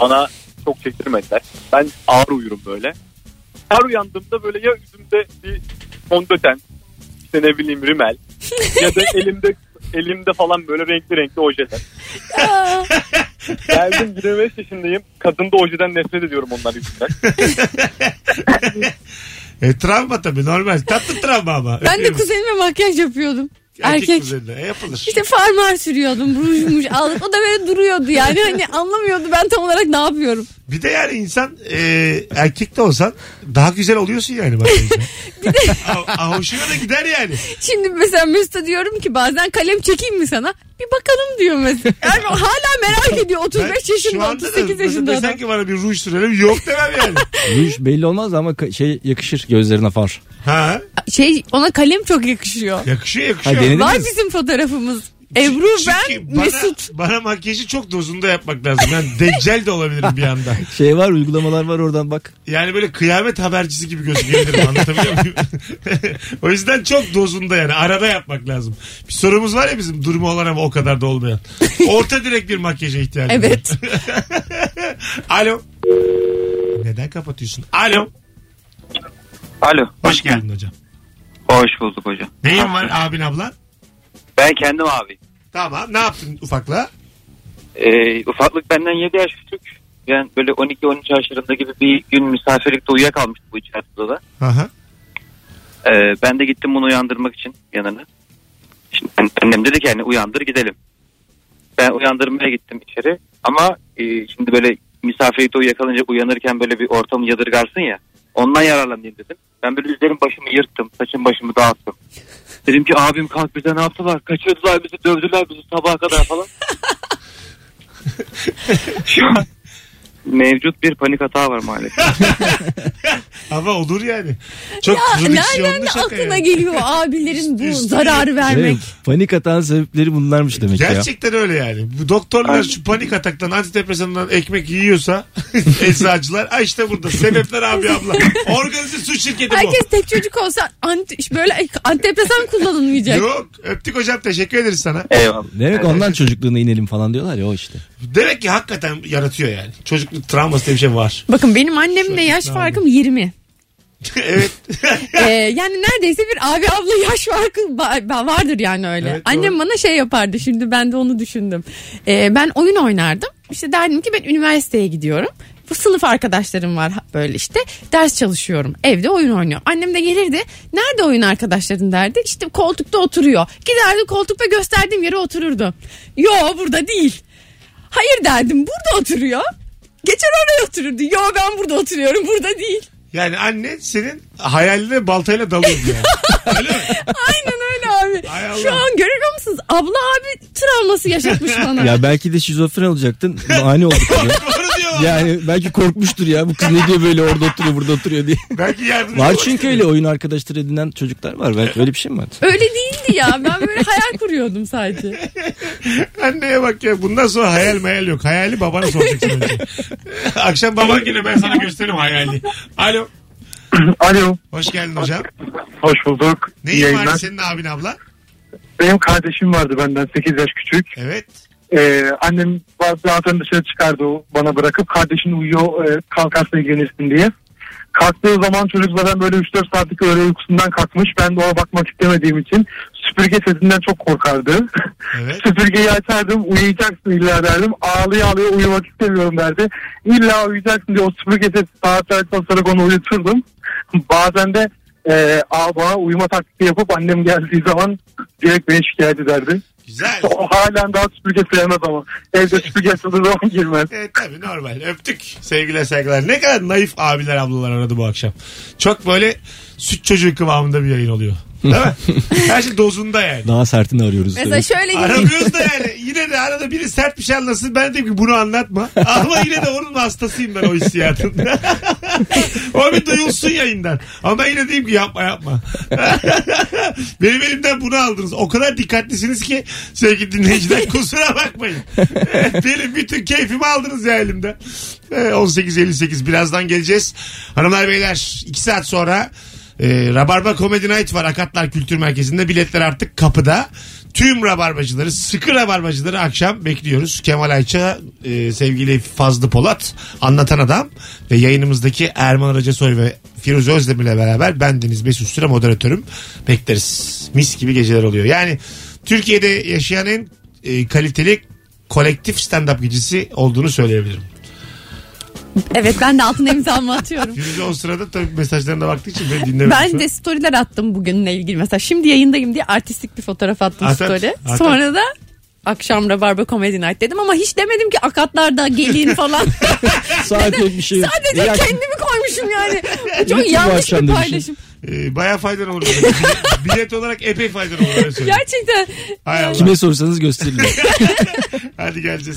[SPEAKER 12] Bana çok çektirmediler. Ben ağır uyurum böyle. Her uyandığımda böyle ya yüzümde bir fondöten işte ne bileyim rimel ya da elimde elimde falan böyle renkli renkli ojeler.
[SPEAKER 4] Aa,
[SPEAKER 12] Geldim 25 yaşındayım. Kadında ojeden nefret ediyorum onlar yüzünden.
[SPEAKER 2] E, travma tabii normal. Tatlı travma ama.
[SPEAKER 4] ben de
[SPEAKER 2] Öpüyoruz.
[SPEAKER 4] kuzenime makyaj yapıyordum.
[SPEAKER 2] Erkek,
[SPEAKER 4] Erkek.
[SPEAKER 2] kuzenine. E, yapılır.
[SPEAKER 4] İşte farmar sürüyordum rujmuş aldık. O da böyle duruyordu yani hani anlamıyordu ben tam olarak ne yapıyorum.
[SPEAKER 2] Bir de yani insan e, erkek de olsan daha güzel oluyorsun yani. bakınca. Ha- ha, Hoşuna da gider yani.
[SPEAKER 4] Şimdi mesela Mesut'a diyorum ki bazen kalem çekeyim mi sana? Bir bakalım diyor mesela. Yani hala merak ediyor
[SPEAKER 2] Ben
[SPEAKER 4] 35
[SPEAKER 2] şu
[SPEAKER 4] yaşında
[SPEAKER 2] anda da
[SPEAKER 4] 38
[SPEAKER 2] mesela
[SPEAKER 4] yaşında adam.
[SPEAKER 2] Desen ki bana bir ruj sürelim yok demem yani.
[SPEAKER 5] Yürüyüş belli olmaz ama ka- şey yakışır gözlerine far.
[SPEAKER 2] ha,
[SPEAKER 4] Şey ona kalem çok yakışıyor.
[SPEAKER 2] yakışıyor
[SPEAKER 5] Ha,
[SPEAKER 2] yakışıyor.
[SPEAKER 5] denedin
[SPEAKER 4] Var
[SPEAKER 5] mi?
[SPEAKER 4] bizim fotoğrafımız. Ebru
[SPEAKER 2] Çünkü
[SPEAKER 4] ben
[SPEAKER 2] bana,
[SPEAKER 4] Mesut.
[SPEAKER 2] Bana makyajı çok dozunda yapmak lazım. Ben deccel de olabilirim bir anda.
[SPEAKER 5] Şey var uygulamalar var oradan bak.
[SPEAKER 2] Yani böyle kıyamet habercisi gibi gözükebilirim anlatabiliyor muyum? o yüzden çok dozunda yani arada yapmak lazım. Bir sorumuz var ya bizim durumu olan ama o kadar da olmayan. Orta direkt bir makyaja ihtiyacım
[SPEAKER 4] Evet.
[SPEAKER 2] var. Alo. Neden kapatıyorsun? Alo.
[SPEAKER 12] Alo.
[SPEAKER 2] Hoş geldin hocam.
[SPEAKER 12] Hoş bulduk hocam.
[SPEAKER 2] Neyin var abin ablan?
[SPEAKER 12] Ben kendim abi.
[SPEAKER 2] Tamam ne yaptın ufakla?
[SPEAKER 12] Ee, ufaklık benden 7 yaş küçük. Ben böyle 12-13 yaşlarında gibi bir gün misafirlikte uyuyakalmıştım bu içeride odada.
[SPEAKER 2] Aha.
[SPEAKER 12] Ee, ben de gittim bunu uyandırmak için yanına. Şimdi an- annem dedi ki yani uyandır gidelim. Ben uyandırmaya gittim içeri. Ama e, şimdi böyle misafirlikte uyuyakalınca uyanırken böyle bir ortamı yadırgarsın ya. Ondan yararlanayım dedim. Ben böyle üzerim başımı yırttım. Saçım başımı dağıttım. Dedim ki abim kalk bize ne yaptılar? Kaçırdılar bizi dövdüler bizi sabaha kadar falan. Şu an mevcut bir panik hata var maalesef.
[SPEAKER 2] Ama olur yani. Çok
[SPEAKER 4] Aa,
[SPEAKER 2] kızın içi
[SPEAKER 4] nereden
[SPEAKER 2] yoğunlu
[SPEAKER 4] de
[SPEAKER 2] şey şaka
[SPEAKER 4] aklına
[SPEAKER 2] yani.
[SPEAKER 4] geliyor abilerin bu
[SPEAKER 2] Üstüne- şey
[SPEAKER 4] zararı vermek.
[SPEAKER 5] Evet, Şey, panik atan sebepleri bunlarmış demek ya.
[SPEAKER 2] Gerçekten öyle yani. Bu doktorlar şu panik ataktan antidepresandan ekmek yiyorsa eczacılar ay işte burada sebepler abi abla. Organize suç şirketi
[SPEAKER 4] Herkes tek çocuk olsa ant- böyle antidepresan
[SPEAKER 2] bu.
[SPEAKER 4] kullanılmayacak.
[SPEAKER 2] Yok öptük hocam teşekkür ederiz sana.
[SPEAKER 5] E-
[SPEAKER 12] Eyvallah.
[SPEAKER 5] Demek ondan çocukluğuna inelim falan diyorlar ya o işte.
[SPEAKER 2] Demek ki hakikaten yaratıyor yani. Çocukluk travması diye bir şey var.
[SPEAKER 4] Bakın benim annemle yaş
[SPEAKER 2] ikna
[SPEAKER 4] farkım 20.
[SPEAKER 2] evet.
[SPEAKER 4] Ee, yani neredeyse bir abi abla yaş farkı ba- ba- vardır yani öyle.
[SPEAKER 2] Evet, doğru.
[SPEAKER 4] Annem bana şey yapardı şimdi ben de onu düşündüm. Ee, ben oyun oynardım. İşte derdim ki ben üniversiteye gidiyorum. Bu sınıf arkadaşlarım var ha- böyle işte. Ders çalışıyorum. Evde oyun oynuyorum. Annem de gelirdi. Nerede oyun arkadaşların derdi. İşte koltukta oturuyor. Giderdi koltukta gösterdiğim yere otururdu. Yo burada değil. Hayır derdim burada oturuyor. Geçer oraya otururdu. Yo ben burada oturuyorum burada değil.
[SPEAKER 2] Yani anne senin hayaline baltayla dalıyor yani. Öyle mi?
[SPEAKER 4] Aynen öyle abi.
[SPEAKER 2] Hay Allah.
[SPEAKER 4] Şu an görüyor musunuz? Abla abi travması yaşatmış bana.
[SPEAKER 5] Ya belki de şizofren olacaktın. Ani olduk. ya.
[SPEAKER 2] Doğru diyor.
[SPEAKER 5] Yani belki korkmuştur ya bu kız ne diyor böyle orada oturuyor burada oturuyor diye.
[SPEAKER 2] Belki yardımcı
[SPEAKER 5] Var
[SPEAKER 2] olur.
[SPEAKER 5] çünkü öyle oyun arkadaşları edinen çocuklar var. Belki öyle bir şey mi var?
[SPEAKER 4] Öyle değildi ya. Ben böyle hayal kuruyordum sadece.
[SPEAKER 2] Anneye bak ya bundan sonra hayal meyal yok. Hayali babana soracaksın önce. Akşam baban geliyor ben sana gösteririm hayali. Alo.
[SPEAKER 13] Alo.
[SPEAKER 2] Hoş geldin hocam.
[SPEAKER 13] Hoş bulduk.
[SPEAKER 2] Neyin var senin abin abla?
[SPEAKER 13] Benim kardeşim vardı benden 8 yaş küçük.
[SPEAKER 2] Evet.
[SPEAKER 13] Ee, annem zaten dışarı çıkardı o bana bırakıp kardeşin uyuyor e, kalkarsa ilgilenirsin diye. Kalktığı zaman çocuk zaten böyle 3-4 saatlik öğle uykusundan kalkmış. Ben de ona bakmak istemediğim için süpürge sesinden çok korkardı.
[SPEAKER 2] Evet.
[SPEAKER 13] Süpürgeyi açardım uyuyacaksın illa derdim. Ağlıyor ağlıyor uyumak istemiyorum derdi. İlla uyuyacaksın diye o süpürge sesi saatler basarak onu uyuturdum. Bazen de e, ağ- bana uyuma taktiği yapıp annem geldiği zaman direkt beni şikayet ederdi.
[SPEAKER 2] Güzel.
[SPEAKER 7] O halen daha süpürge sevmez ama. Evde süpürge sıvı zaman girmez.
[SPEAKER 2] Evet tabii normal. Öptük. Sevgiler saygılar. Ne kadar naif abiler ablalar aradı bu akşam. Çok böyle süt çocuğu kıvamında bir yayın oluyor. Değil mi? Her şey dozunda yani.
[SPEAKER 5] Daha sertini arıyoruz.
[SPEAKER 4] Mesela şöyle gibi.
[SPEAKER 2] Aramıyoruz da yani. Yine de arada biri sert bir şey anlasın. Ben dedim ki bunu anlatma. Ama yine de onun hastasıyım ben o hissiyatın. o bir duyulsun yayından. Ama yine diyeyim ki yapma yapma. Benim elimden bunu aldınız. O kadar dikkatlisiniz ki sevgili dinleyiciler kusura bakmayın. Benim bütün keyfimi aldınız ya elimden. Ee, 18.58 birazdan geleceğiz. Hanımlar beyler 2 saat sonra e, Rabarba Comedy Night var Akatlar Kültür Merkezi'nde. Biletler artık kapıda. Tüm rabarbacıları, sıkı rabarbacıları akşam bekliyoruz. Kemal Ayça, e, sevgili Fazlı Polat, Anlatan Adam ve yayınımızdaki Erman Aracasoy ve Firuze Özdemir'le beraber ben Deniz Mesut Süre moderatörüm. Bekleriz. Mis gibi geceler oluyor. Yani Türkiye'de yaşayan en e, kaliteli kolektif stand-up gecesi olduğunu söyleyebilirim.
[SPEAKER 4] Evet ben de altına imzamı atıyorum.
[SPEAKER 2] Firuze o sırada tabii mesajlarına baktığı için beni dinlememiş.
[SPEAKER 4] Ben de storyler attım bugünle ilgili. Mesela şimdi yayındayım diye artistik bir fotoğraf attım
[SPEAKER 2] At, at,
[SPEAKER 4] story.
[SPEAKER 2] at, at.
[SPEAKER 4] Sonra da akşam Rabarba Comedy Night dedim ama hiç demedim ki akatlarda gelin falan.
[SPEAKER 5] Sadece bir şey.
[SPEAKER 4] Sadece
[SPEAKER 5] İyi akşam-
[SPEAKER 4] kendimi koymuşum yani. Bu
[SPEAKER 5] Lütfen
[SPEAKER 4] çok
[SPEAKER 5] bu
[SPEAKER 4] yanlış
[SPEAKER 5] akşam
[SPEAKER 4] bir
[SPEAKER 5] da bir
[SPEAKER 4] paylaşım.
[SPEAKER 2] Ee, baya faydan olur. Bilet- Bilet olarak epey faydan olur. öyle söyleyeyim.
[SPEAKER 4] Gerçekten
[SPEAKER 2] Hay Allah.
[SPEAKER 5] Kime sorsanız gösterilir.
[SPEAKER 2] Hadi geleceğiz.